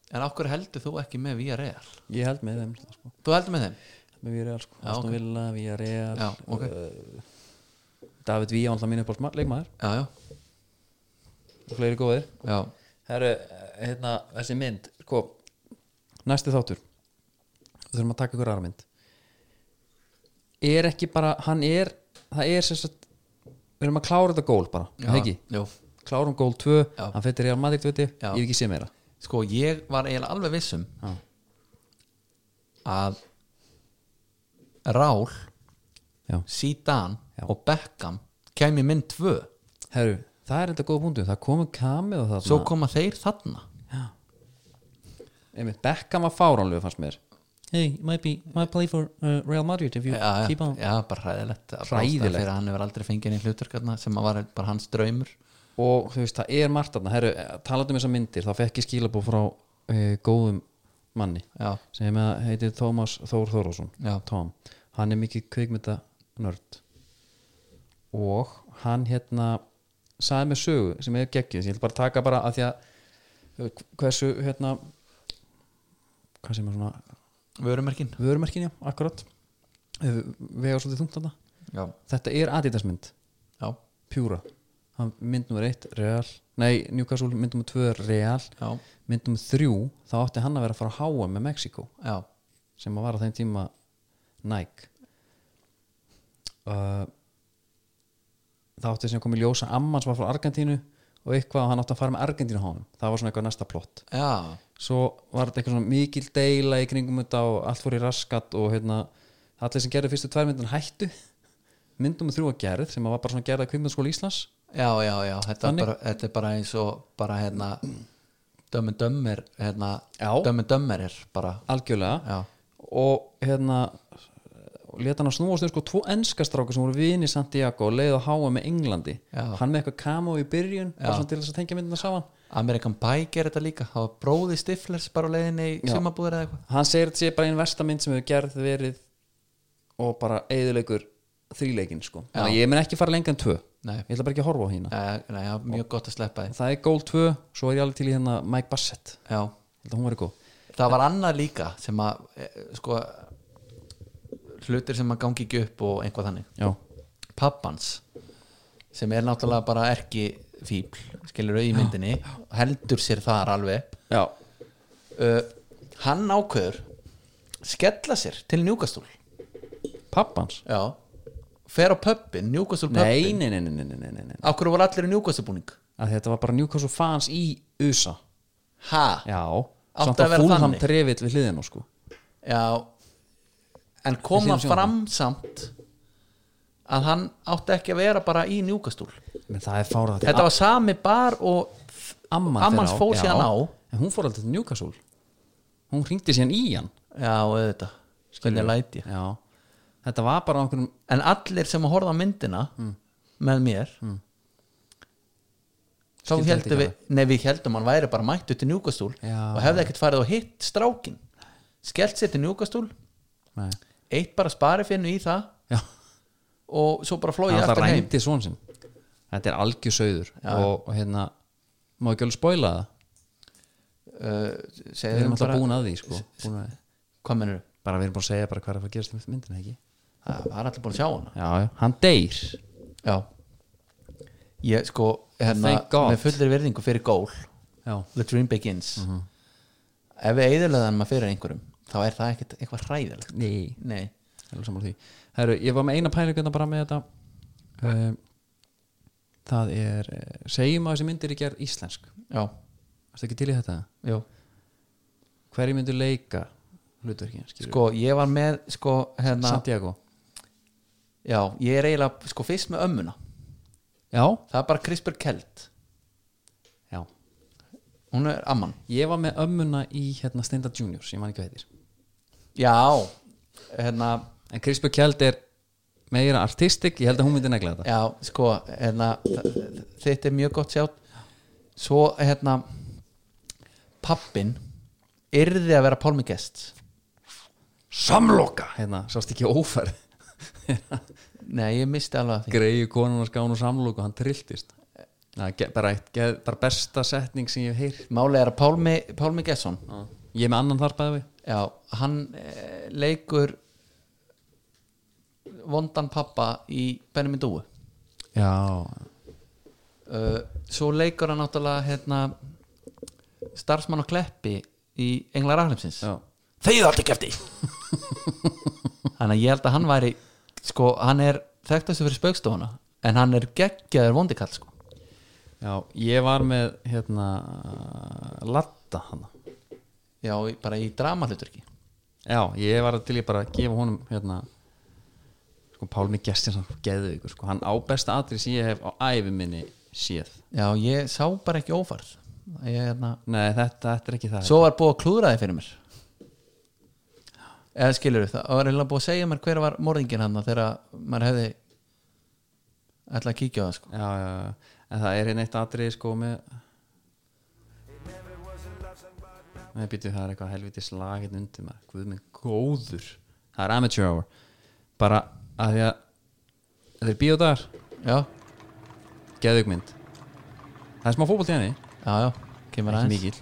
en okkur heldur þú ekki með VRL ég held með þeim sko. þú heldur með þeim, með VR sko, Já, Aston ok. Villa, VR já, ok David VI alltaf mínu uppált leikmaður já, já, og fleiri góðir já, Heru, hérna, þessi mynd sko, næsti þáttur þurfum að taka ykkur aðra mynd er ekki bara hann er, það er sem sagt við erum að klára þetta gól bara, já, er það ekki já. klárum gól 2, Já. hann fyrir Real Madrid viti, ég Já. hef ekki sé meira sko ég var eiginlega alveg vissum Já. að Rál Já. Zidane Já. og Beckham kæmi minn tvö Herru, það er þetta góð punktu, það komum kamið og það svo koma þeir þarna einmitt, Beckham var fáránlegu fannst mér Hey, might be, might play for uh, Real Madrid if you já, já, já, bara hræðilegt Að bara Hræðilegt. ástæða fyrir að hann hefur aldrei fengið inn í hlutur sem að var bara hans draumur og þú veist, það er margt þarna herru, talandi um þessar myndir, þá fekk ég skilabó frá uh, góðum manni já, sem að heitir Tómas Þór Þórásson já, Tom, hann er mikið kveikmynda nörd og hann hérna sagði með sögu sem er geggjuð sem ég ætla bara að taka bara að því að uh, hversu hérna hvað sem er svona vörumerkin vörumerkin já, akkurat Uh, vegar svolítið þungt þarna já, þetta er Adidas mynd já, pjúra Hann- mynd nummer 1 real nei, Newcastle mynd nummer 2 real já, mynd nummer 3 þá átti hann að vera að fara að háa með Mexiko já, sem að var á þeim tíma Nike uh, það átti sem kom í ljósa ammans var frá Argentínu og eitthvað og hann átti að fara með Argentínu háum það var svona eitthvað næsta plott já, svo var þetta eitthvað svona mikil deila í kringum þetta og allt fór í raskat og hérna, allir sem gerðu fyrstu tvær myndin hættu myndum og þrjú að gerð sem að var bara svona gerða kvikmyndaskóla Íslands já, já, já þetta, Þannig. er bara, þetta er bara eins og bara hérna dömmen dömmir hérna, Já. dömmen dömmir er bara algjörlega já, og hérna og leta hann að snúast um sko tvo enska stráka sem voru vini Santiago og leið á háa með Englandi Já. hann með eitthvað kamo í byrjun bara Já. svona til þess að tengja myndina saman Amerikan Pie gerir þetta líka það var bróði Stiflers bara á leiðinni í Já. sumabúður eða eitthvað hann segir þetta sé bara einn versta mynd sem hefur gerð verið og bara eðilegur þríleikin sko Já. þannig að ég mun ekki fara lengi en tvö Nei. ég ætla bara ekki að horfa á hína Nei, nei, já, mjög gott að sleppa þið það er gól tvö, svo er ég alveg til í hérna Mike Bassett já. ég held að hún verið góð það var annað líka sem að eh, sko hlutir sem að gangi ekki upp og einhvað þannig já, pappans sem er náttúrulega bara erki fíbl, skilur í myndinni heldur sér þar alveg já, uh, hann ákveður skella sér til njúkastúl pappans já, fer á pöppin, njúkastúl nei, pöppin nei, nei, nei, nei, nei, nei, nei. á hverju voru allir í njúkastúlbúning Að þetta var bara Newcastle fans í USA ha, já. Já, Átti samt að að vera fúlham þannig. trefill við hliðinu sko en koma Við sýnum fram samt að hann átti ekki að vera bara í njúkastúl Men það er fárað þetta var sami bar og amman ammans fór já. síðan á En hún fór alltaf til Newcastle Hún hringdi síðan í hann já, auðvitað, hvernig læti ég Já, þetta var bara á einhverjum en allir sem að horfa á myndina Mm. með mér þá Skildu Mm. þetta heldum ekki við nei við heldum hann væri bara mættu til njúkastúl Já. og hefði ekkert farið og hitt strákin skellt sér til njúkastúl Nei. eitt bara sparifinu í það já, og svo bara flóið hann alltaf aftur heim rændi svon sinn þetta er algjörsauður og, og hérna, má ekki alveg spoila það uh, við segðu erum bara, alltaf búin að því sko. búin að, hvað mennur bara við erum bara að segja bara hvað er að fara að gerast í myndina ekki það var allir búin að sjá hana já, já, hann deyr já ég sko hérna, Thank God. með fullri verðingu fyrir gól já, The Dream Begins Mhm. ef við eigðurlega maður fyrir einhverjum þá er það ekkert eitthvað hræðilegt ný, nei alveg sammála því Heru, ég var með eina pælinguna bara með þetta um, það er eh, segjum að þessi myndir er gerð íslensk Já, erstu ekki til í þetta? já hverju myndir leika hlutverkin? Sko, Sko, ég var með, sko, hérna Santiago Já, ég er eiginlega, sko, fyrst með ömmuna já, Það er bara CRISPR Kelt já Hún er amman Ég var með ömmuna í hérna Steinda Juniors, ég man ekki hvað heitir Já, hérna, En Krispur Kjeld er meira artistik, ég held að hún myndi negla þetta já, sko, hérna þ- Þetta er mjög gott sjátt Svo, hérna Pappin Yrði að vera Pálmi Gest Samloka! Hérna, sást ekki ófærð Nei, ég misti alveg af því Greiðu konun að skánu samloku, hann trilltist Na, ge, bara, eitt, ge, bara besta setning sem ég hef heyrt Máli er að Pálmi, Pálmi Gesson Ég er með annan þar bæði við Já, hann eh, leikur vondan pappa í Benjamin Dúu Já, uh, svo leikur hann náttúrulega hérna, starfsmann á kleppi í Englar Arnheimsins já, þauðu alltaf kefti þannig að ég held að hann væri sko, hann er þekktastu fyrir spaukstofuna en hann er geggjaður vondikall sko. já Ég var með hérna Latta hana já, í- bara í dramahluturki Já, ég var til ég bara að gefa honum hérna sko Pálmi Gestin sem geðu ykkur sko, hann á besta atri sem ég hef á æfi minni séð já, ég sá bara ekki ófarð ég, hérna, Nei, þetta, þetta er ekki það svo var búið að klúðra þið fyrir mér eða skilur það það var eiginlega búið að segja mér hver var morðingin hann þegar maður hefði ætla að kíkja á það sko. já, já, já, en það er hérna eitt atri sko með Nei, býtu, það er eitthvað helvitis lag hérna undir maður, guð minn góður Það er amateur hour bara að því að þetta er bíódagar, já, geðugmynd Það er smá fótbolt í henni, já, já, kemur ekki aðeins mikill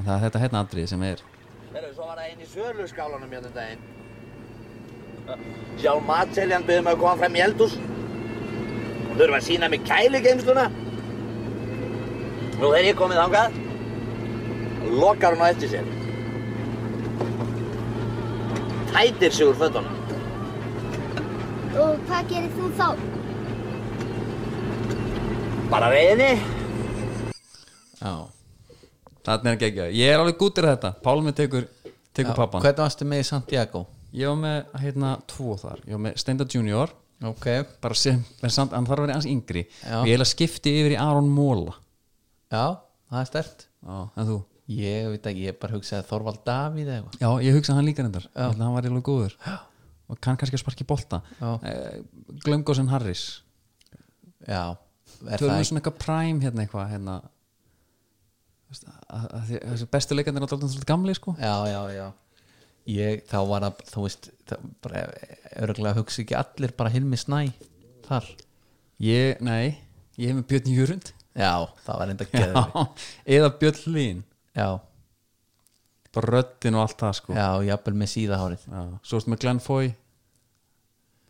en það er þetta hérna atrið sem er Herru, svo var það einn í söðluskálanum hérna daginn. Sjálf matseljan byrði mig að koma fram í eldús. Hún þurfa að sína mig kæligeimsluna. Nú þegar ég komið þangað, lokar hún á eftir sér. Tætir sig úr fötunum. Og hvað gerir þú þá? Bara reyðinni. já. Þannig er ekki ekki, ég er alveg gútir þetta Pálmi tekur, tekur Já, pappan hvernig varstu með í Santiago Ég var með hérna tvo þar Ég var með Steinda Junior ok, bara sem, en samt, hann þarf að vera eins yngri Já. og ég heila skipti yfir í Aron Móla já, það er stert Já, en þú? ég veit ekki, ég bara hugsaði Þorvald Davíð eða eitthvað Já, ég hugsa hann líka reyndar Ætli hann var eiginlega góður og kann kannski að sparki bolta Já. eh, Glöngósen Harris já, er Tölum það við ekki svona eitthvað prime hérna eitthvað hérna Veist, að- að því- þessi bestu leikandir er alltaf svolítið gamli sko já, já, já ég, þá var það, þú veist það, bara, örgulega hugsa ekki allir bara Hilmi Snæ þar Ég, nei, ég hef með Björn Jörund já, það var enda geður já, eða Björn Lín já, bara röddin og allt það sko já, jafnvel með síðahárið Já. svo erstu með Glenn Foy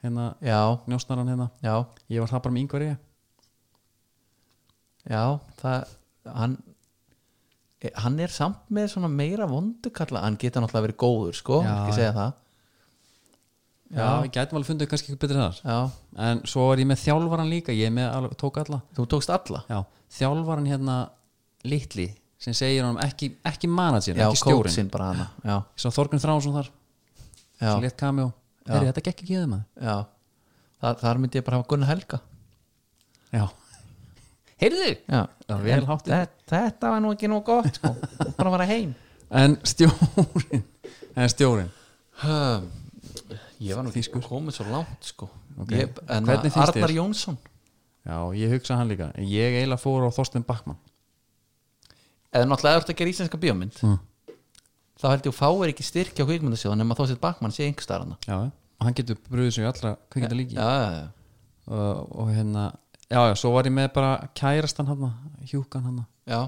hérna, já, njósnaran hérna já, ég var það bara með yngvar ég já það, hann eh, hann er samt með svona meira vondukalla hann getur náttúrulega verið góður, sko Já, ekki segja það já, ég gætum alveg fundið kannski eitthvað betur þar já, en svo er ég með þjálfaran líka ég er með alveg, tók alla Þú tókst alla já, þjálfaran hérna litli sem segir honum ekki, ekki manager, ekki coach stjórin sinn bara hana Já, ég sá Þorgrun Þránsson þar sem já, létt kamjó, herri þetta gekk ekki yfir maður já. Þa, Þar myndi ég bara hafa Gunnar Helga já, heyrðu Já, Já, vel En háttið. þe- Þetta var nú ekki nú gott sko. bara að fara heim en stjórin en stjórin Höm, ég var nú ekki Þýskur. komið svo langt sko Ok. ég, en Hvernig finnst Arnar þér? Jónsson Já, ég hugsa hann líka En Ég eiginlega fór á Þorsten Backmann eða náttúrulega eftir að gera íslenska bíómynd Mm. þá held ég að fáir ekki styrkja á kvikmyndasjóðan nema þó sér bakmann sé einhverstaðarna Já, og hann getur bröðið sig í allra kvikita líki já, já, já. og, og hérna Já, já, svo var ég með bara kærastan hann Hjúkan hann já,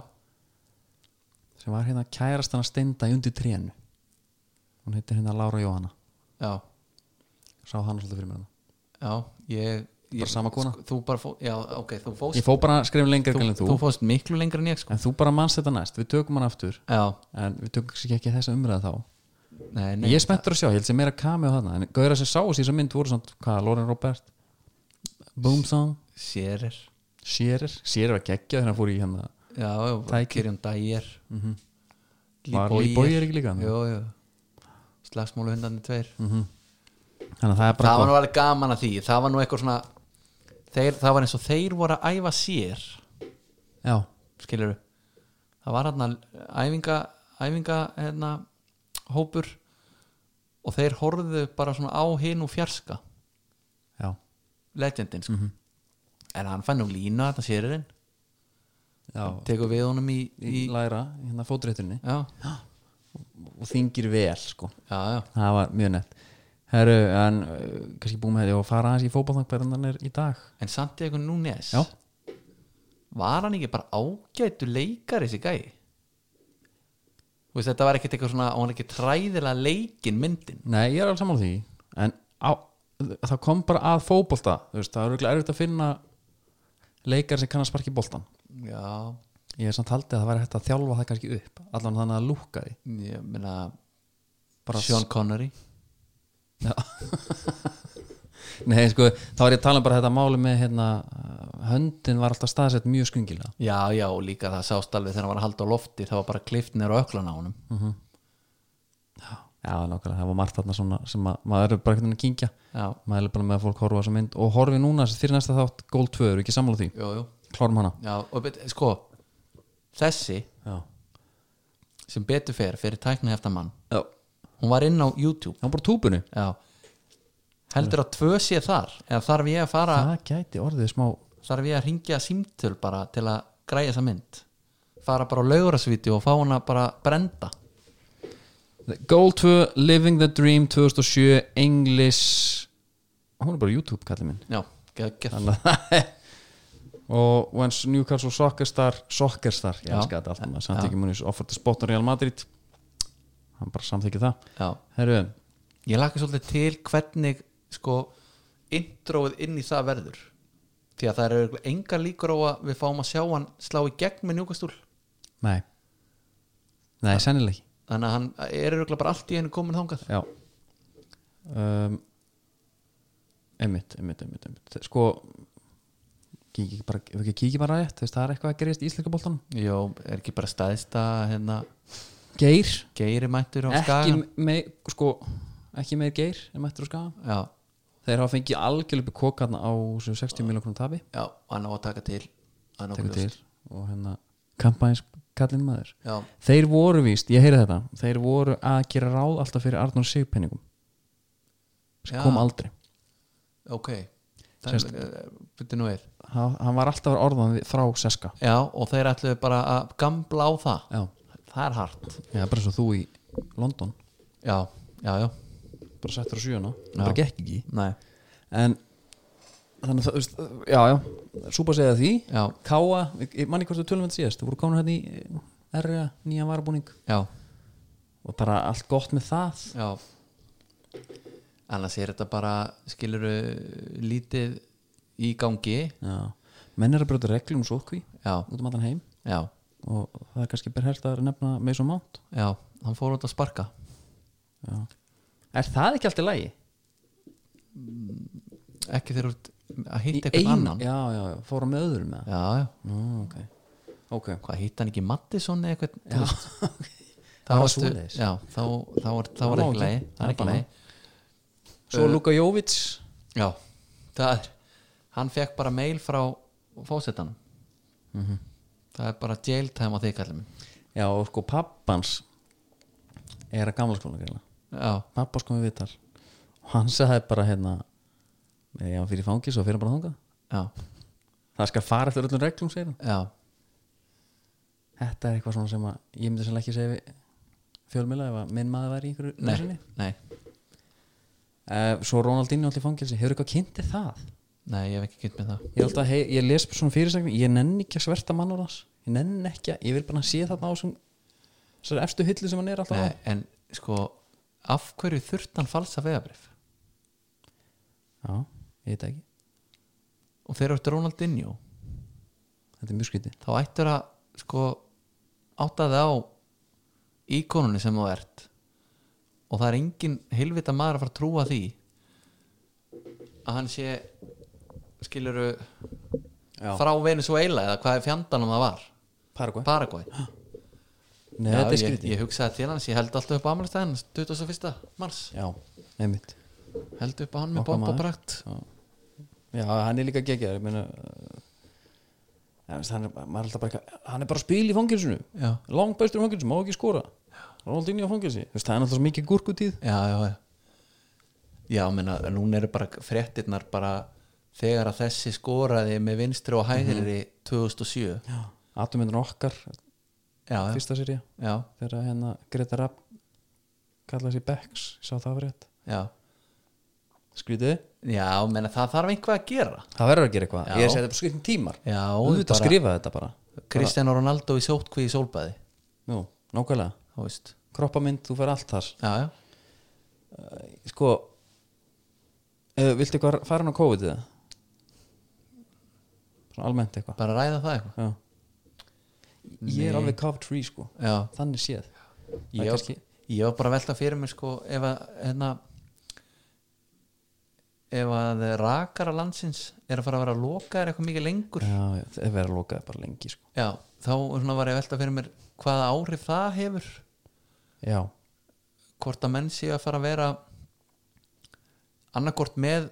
sem var hérna kærastan að steinda í undir trénu Hún heitir hérna Lára Jóhanna já, Sá hann svolítið fyrir mér hérna. hann já ég, ég, Bara sama kona? sko, þú bara fó, já, ok, þú Ég fóst fó bara skrifin lengra þú, en þú fóst miklu lengra en ég sko En þú bara manst þetta næst, við tökum hann aftur já, En við tökum kannski ekki þessa umræða þá nei, nei Ég er spenntur að sjá, ég held sem meira kami á þarna En gauðra sem sáu sér þessa mynd voru samt Hvað, Lauren Robert Boomsong, sérir Shearer Shearer var geggja þegar hann fór í hérna já, já, Tæki. Mhm. Kirjum Dægir mm -hmm. Var Lee Boyer ekki líka þarna? Mhm. jú, jú. slagsmóluhundandi tveir Þannig að það er bara það var nú gott. alveg gaman að því það var nú eitthvað svona þeir, það var eins og þeir voru að æfa sér Já, skilur það var hérna æfinga, æfinga hérna, hópur og þeir horfðu bara svona á hinn og fjarska já, legendin sko. en hann fann um línu að þetta sérurinn já tekur við honum í, Í í, læra, hérna fótréttunni já, Og þingir vel, sko já, já, Það var mjög nett Herru, en uh, kannski búum hefði og fara aðeins í fótballnakbærandan er í dag en samt eitthvað nú nes Já. var hann ekki bara ágætu leikar þessi gæi Þú veist, þetta var ekkert eitthvað svona og hann ekki træðilega leikin myndin Nei, ég er alveg sammála því En á, það kom bara að fótbolta þú veist, Það er örugglega erfitt að finna leikar sem kann að sparki boltan já, Ég er samt haldið að það væri hægt að þjálfa það kannski upp Allan þannig að lúka því ég meina Bara Sean Connery Nei, sko, þá var ég að tala um bara þetta máli með hérna, uh, höndin var alltaf staðsett mjög skungilega Já, já, og líka það sást alveg þegar hann var að halda á lofti það var bara klift niður á öklan á honum Mhm. Já, nákvæmlega, það var margt þarna svona sem að, maður er bara einhvern veginn að kynkja Já, maður er bara með að fólk horfa á þessa mynd og horfi núna fyrir næsta þátt gól 2, eru ekki sammála því jú, jú klárum hana Já, og bet, sko, þessi Já, sem betur fer fyrir tækni eftir mann Já. hún var inn á YouTube það var bara á túbunni Já Heldur að tvö sé þar eða þarf ég að fara, Það gæti orðið smá þarf ég að ringja símtöl bara til að græja þessa mynd fara bara á laugurasvíti og fá hana bara brenda Goal 2, Living the Dream 2007, English hún er bara YouTube kallið minn Já, geggjað Þannig að- og once Newcastle Soccer Star Soccer Star, ég Já. elska þetta alltaf maður samþykjum hún í offerta spot á Real Madrid hann bara samþykja það Já, Herru, ég laka svolítið til hvernig sko introið inn í það verður því að það eru enga líkur á að við fáum að sjá hann slá í gegn með njúkastúl nei nei, sennileg ekki þannig að hann er örugglega bara allt í einu komin þangað já um, einmitt, einmitt, einmitt, einmitt sko kíkja bara, ef ekki kíkja bara rétt þú veist, það er eitthvað að gerist í Íslika boltanum Jó, er ekki bara staðista hérna, Geir, geiri mættur á ekki skagan meir sko, ekki meir geir en mættur og skaga Já, þeir hafa fengið algjörlega kokkarna á sem 60 miljonar tabi já, hann á að taka til Hann á tekur að til og hérna kampæns kallinn maður Já, þeir voru víst, ég heyri þetta þeir voru að gera ráð alltaf fyrir Arnur Sigpenningum sem Já. kom aldrei ok Sérst- Byrðu nú við hann hann var alltaf orðan við- frá seska Já, og þeir ætluðu bara að gambla á það já, Það er hart já bara eins og þú í London Já, já, já, bara settur á sjöuna, Já. það bara gekk ekki nei en þannig að það, þú veist, já, já súpa segja því, Já. káa ég- ég manni hvort þú tölum við síðast, þú voru komin hérna í erja, nýjan varabúning Já, og bara allt gott með það Já Annars er þetta bara skiluru lítið í gangi já. menn er að brjóta reglum svo okkur Já, út um allan heim já, og það er kannski berhært að nefna með svo mátt já, hann fór út að sparka er það ekki alltaf lægi? ekki þegar út að hitta eitthvað annan Já, já, já, já, fóra með öðrum með það já, Nú, ok, ok hvað hitta hann ekki Mattisson eða eitthvað Já, þú veist, þá Það var varstu- svoleiðis. Já, þá, þá var, þá Það var má ekki. ekki leið Það Það er er ekki bara- leið Svo Luka Jóvits Já, það er hann fekk bara mail frá fósetanum Mhm. Það er bara jail time á þig kallum Já, og sko pappans er að gamla skóla greina Já, Pappas komið viðtal hann sagði bara hérna ég hann fyrir fangis og fyrir hann bara þangað já, það skal fara eftir öllum reglum segir hann já, þetta er eitthvað svona sem að ég myndi sem ekki segja við fjölmjöla ef að minn maður væri í einhverju nei, nösinni nei uh, svo Ronaldinho allir fangilsi, hefur eitthvað kynnti það nei, ég hef ekki kynnt með það ég, er alltaf, hei, ég les svona fyrirsækning ég nenni ekki að sverta mannur hans ég nenni ekki að, ég vil bara sé þarna á sem þessari efstu hillu sem hann er alltaf nei, en sko, af hverju þurft hann falsa vegabrif á já, ég veit það ekki, og þegar þú ert Ronaldinho þetta er mjög skrítið þá ættur að sko átta þig á íkonunni sem þú ert og það er engin heilvita maður að fara að trúa því að hann sé skiluru Já. frá Venezuela eða hvað er fjandanum það var Paraguay, Paraguay Nei, Já, þetta er ég, skrítið ég hugsaði til hans, ég held alltaf upp á amalistæðin 21. mars, Já, nefnitt held upp á hann með Okkar bomba maður. brakt Já, hann er líka geggjaður ég meina, uh, já, veist, hann, er, maður er alltaf bara, eitthvað, hann er bara að spila í fangilsinu Já. langbæstur í fangilsinu, má ekki skora Ronaldinho á fangelsi, Þú veist, það er alltaf svo mikið gúrkutíð já, já, já já, menna, núna eru bara fréttirnar bara þegar að þessi skoraði með vinstri og hæðri 2007 Mhm. já, Atumindun okkar, já, fyrsta serið já, þegar að hérna Greta Rapp kallaði sér Becks, ég sá það var rétt já skrítið, já, menna, það þarf einhvað að gera það verður að gera eitthvað Já. ég er að segja þetta bara skrifin tímar Já, þú veit að bara- skrifa þetta bara Kristján Ronaldo í sótkví í sólbæði Jú, nákvæmlega, þú veist, kroppamynd, þú fær allt þar já, já sko uh, viltu eitthvað fara hann á COVID eða? svona almennt eitthvað bara ræða það eitthvað Já. ég er alveg Coventry sko já, þannig séð Það er ég, kannski- ég var bara að velta fyrir mér sko ef að hérna, ef að rakara landsins er að fara að vera að loka er eitthvað mikið lengur já, Já, það verður að loka bara lengi sko þá svona var ég að velta fyrir mér hvaða áhrif það hefur já, hvort að menn séu að fara að vera annarkvort með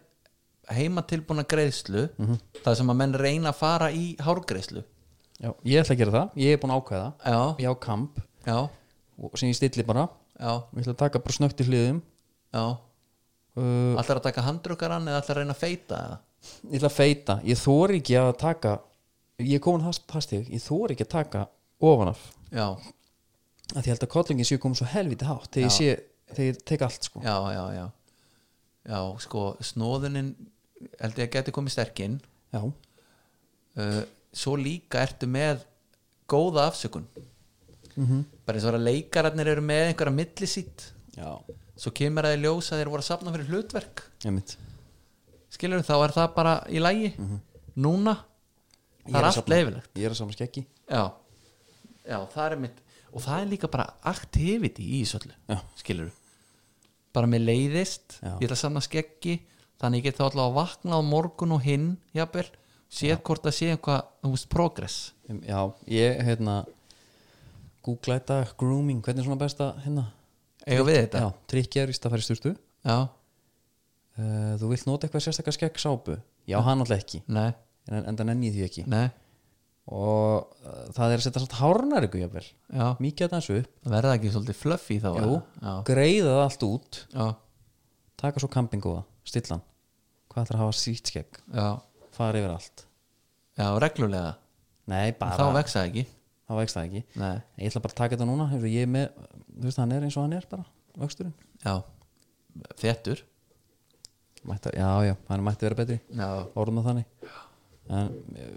heimatilbúna greiðslu það sem að menn reyna að fara í hárgreiðslu já, ég ætla að gera það ég er búin að ákveða, já, ég á kamp já, og sem ég stilli bara já, Við ætlum að taka bara snögt í hliðum já uh, allar að taka handrukkarann eða allar að reyna að feita eða? Ég ætla að feita Ég þóri ekki að taka Ég er komin það- það stig Ég þóri ekki að taka ofan af já, að Því ég held að kollingin séu komin svo helviti hátt Þegar ég sé, þegar ég tek allt sko já, já, já já, sko, snóðunin held ég að geti komið sterkinn Já, uh, svo líka ertu með góða afsökun Mhm. bara eins og að leikararnir eru með einhverja millisít já. svo kemur að þið ljós að þeir voru að safna fyrir hlutverk Einmitt. skilur þá er það bara í lægi núna, Mhm. Ég það að er allt safna- leifilegt Ég er að saman skeggi já. já, það er mitt og það er líka bara activity í þessu öllu Já. skilur bara með leiðist, Já. ég ætla að sanna skeggi þannig ég get þá allavega að vakna á morgun og hinn, jafnvel séð hvort að sé einhvað, þú veist, progress Em, Já, ég hérna Google þetta, grooming Hvernig er svona besta hérna eiga við þetta Já, trikki er víst að fara í sturtu já. uh, Þú vilt nota eitthvað sérstakar skegg sápu Já, hann alltaf ekki nei, En, en það nenni ég því ekki nei, og uh, það er að setja samt hárnar ykkur jafnvel, já mikið að dansu upp verða ekki svolítið fluffy þá Jú, já, greiða það allt út já, taka svo kampingu það, stillan hvað ætlar að hafa sítt skegg, já, fara yfir allt já reglulega nei, bara, þá vex það ekki þá vext það ekki nei, ég ætla bara að taka þetta núna, hefur ég er með þú veist, hann er eins og hann er bara, vöxturinn já, þettur mætti, já, já, hann mætti vera betri já, orðum það þannig en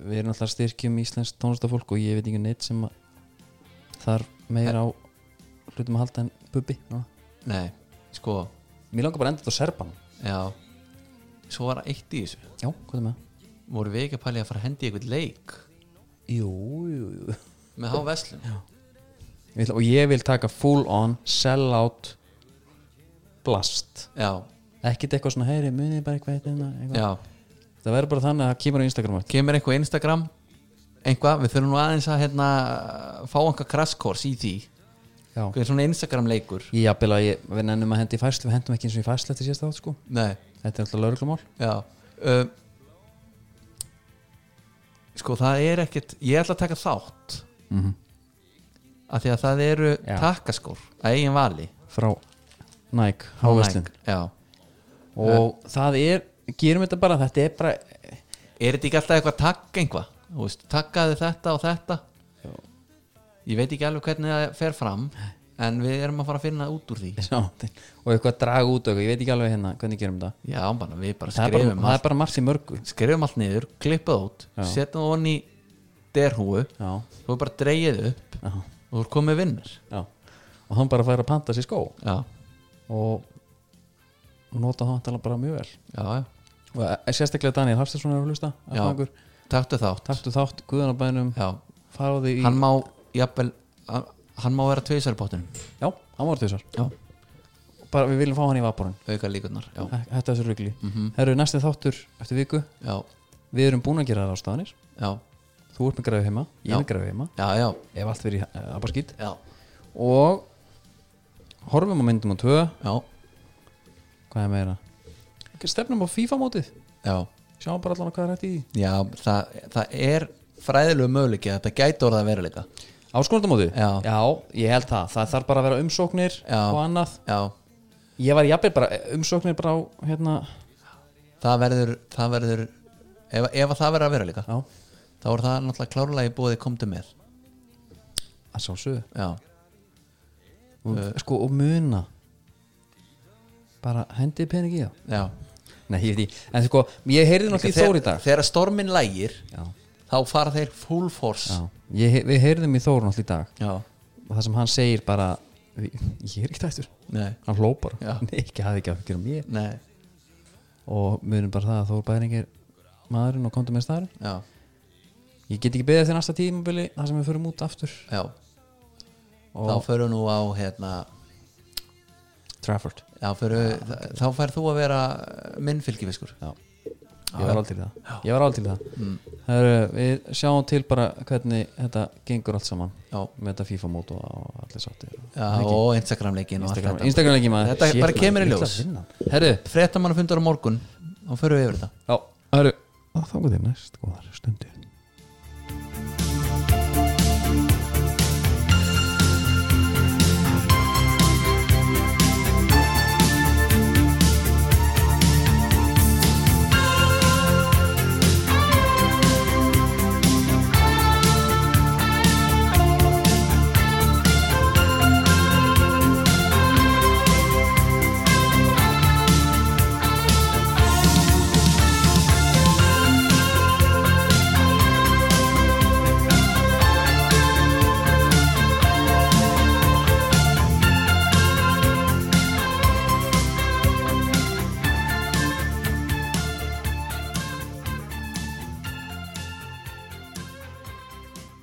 við erum alltaf að styrkjum íslensk tónlistafólk og ég veit ekki neitt sem að þarf meira á hlutum að halda en bubbi núna. nei, sko mér langar bara að enda þetta á serban já, svo var eitt í þessu já, hvað er með það? voru við ekki að pæli að fara að hendi í eitthvað leik Jú, jú, jú með há veslum, Ég ætla- Og ég vil taka full on, sell out Blast já, Ekkert eitthvað svona, heyri, munið bara eitthvað, eitthvað, eitthvað. já Það verður bara þannig að það kemur á Instagram mitt. kemur eitthvað Instagram eitthvað, við þurfum nú aðeins að hérna, fá einhver crash course í því Já Hvað er svona Instagram leikur Ég jafnvel að ég, við nennum að hendi í færslu Við hendum ekki eins og í færslu eftir síðast átt sko nei, Þetta er alltaf lauruglumál já um, sko það er ekkit ég ætla að taka þátt Mhm. af því að það eru Já. takkaskór að eigin vali Frá Nike, háveslin Nike, já, og það er, gerum þetta bara þetta er bara, er þetta ekki alltaf eitthvað takk einhvað Þú veist, takkaði þetta og þetta ég veit ekki alveg hvernig það fer fram en við erum að fara að finna út úr því sjá, og eitthvað að draga út og eitthvað, ég veit ekki alveg hérna hvernig gerum þetta já, bara, við bara það er bara, skrifum það allt, er bara margt í mörgu skrifum allt niður klippa það út, Já. setja það onni í derhúu, já, þú bara dreigið upp já, og þú er komið vinnur já og hann bara fær að panta sér skó já, og og nota það tala bara mjög vel já, já, og eh, sérstaklega Daniel Hafstæðsson er að hlusta já. erfræðingur. taktu þátt taktu þátt guðanabænum já, faraði í, hann má jafnvel, hann- hann má vera tveisar í bóttinum já, hann var þessar já, bara við viljum fá hann í vaporun auka líkunar já, þetta er þessu rugli mm -hmm. herru næsti þáttur eftir viku já, við erum búin að gera það ástafanir já, þú ert með græfi heima, ég Já. er með græfi heima já, já, ef allt verið í eh, abaskýt já, og horfum á myndum á tvö já, hvað er meira stefnum á FIFA mótið já. sjáum bara allan hvað er hægt í því. Já, það, það er fræðilegu möguleiki að þetta gæti orða að vera líka áskorundamótið, Já. ég held það það þarf bara að vera umsóknir Já. og annað Já, ég var jafnveg bara eh, umsóknir bara á hérna, það verður, það verður ef, ef það verður að vera líka já, þá er það náttúrulega klárlega í búið komdu með að sjálfsögðu Já, og, sko, og muna bara hendið pening í það já nei, ég veit ekki, en sko, ég heyrði náttúrulega í Þór í dag Þegar stormin lægir já, þá fara þeir full force já, ég, hey- við heyrðum í Þór náttúrulega í dag já. og það sem hann segir bara "Vi- ég er ekki tættur, Nei. hann hló bara Já. nei, ekki hafði ekki að fyrir mér Nei, og munum bara það að Þór Bæring er maðurinn og komdu með staðurinn já, ég get ekki beðið eftir næsta tímabili þar sem við förum út aftur já Þá og förum nú á hérna Trafford já, förum, þá- Þá fær þú að vera minn fylgifiskur Já. ég var alveg til í það ég var alveg til í það mm. við sjáum til bara hvernig þetta gengur allt saman Já. með þetta FIFA mót og allir sáttir Já, og Instagram leikin og allt Instagram, þetta Instagram ekki maður Þetta bara kemur maður, í ljós. ég ætla að vinna. herru, Frettamann fundur á morgun og förum við yfir þetta já, herru þá er þetta næst góðar stundir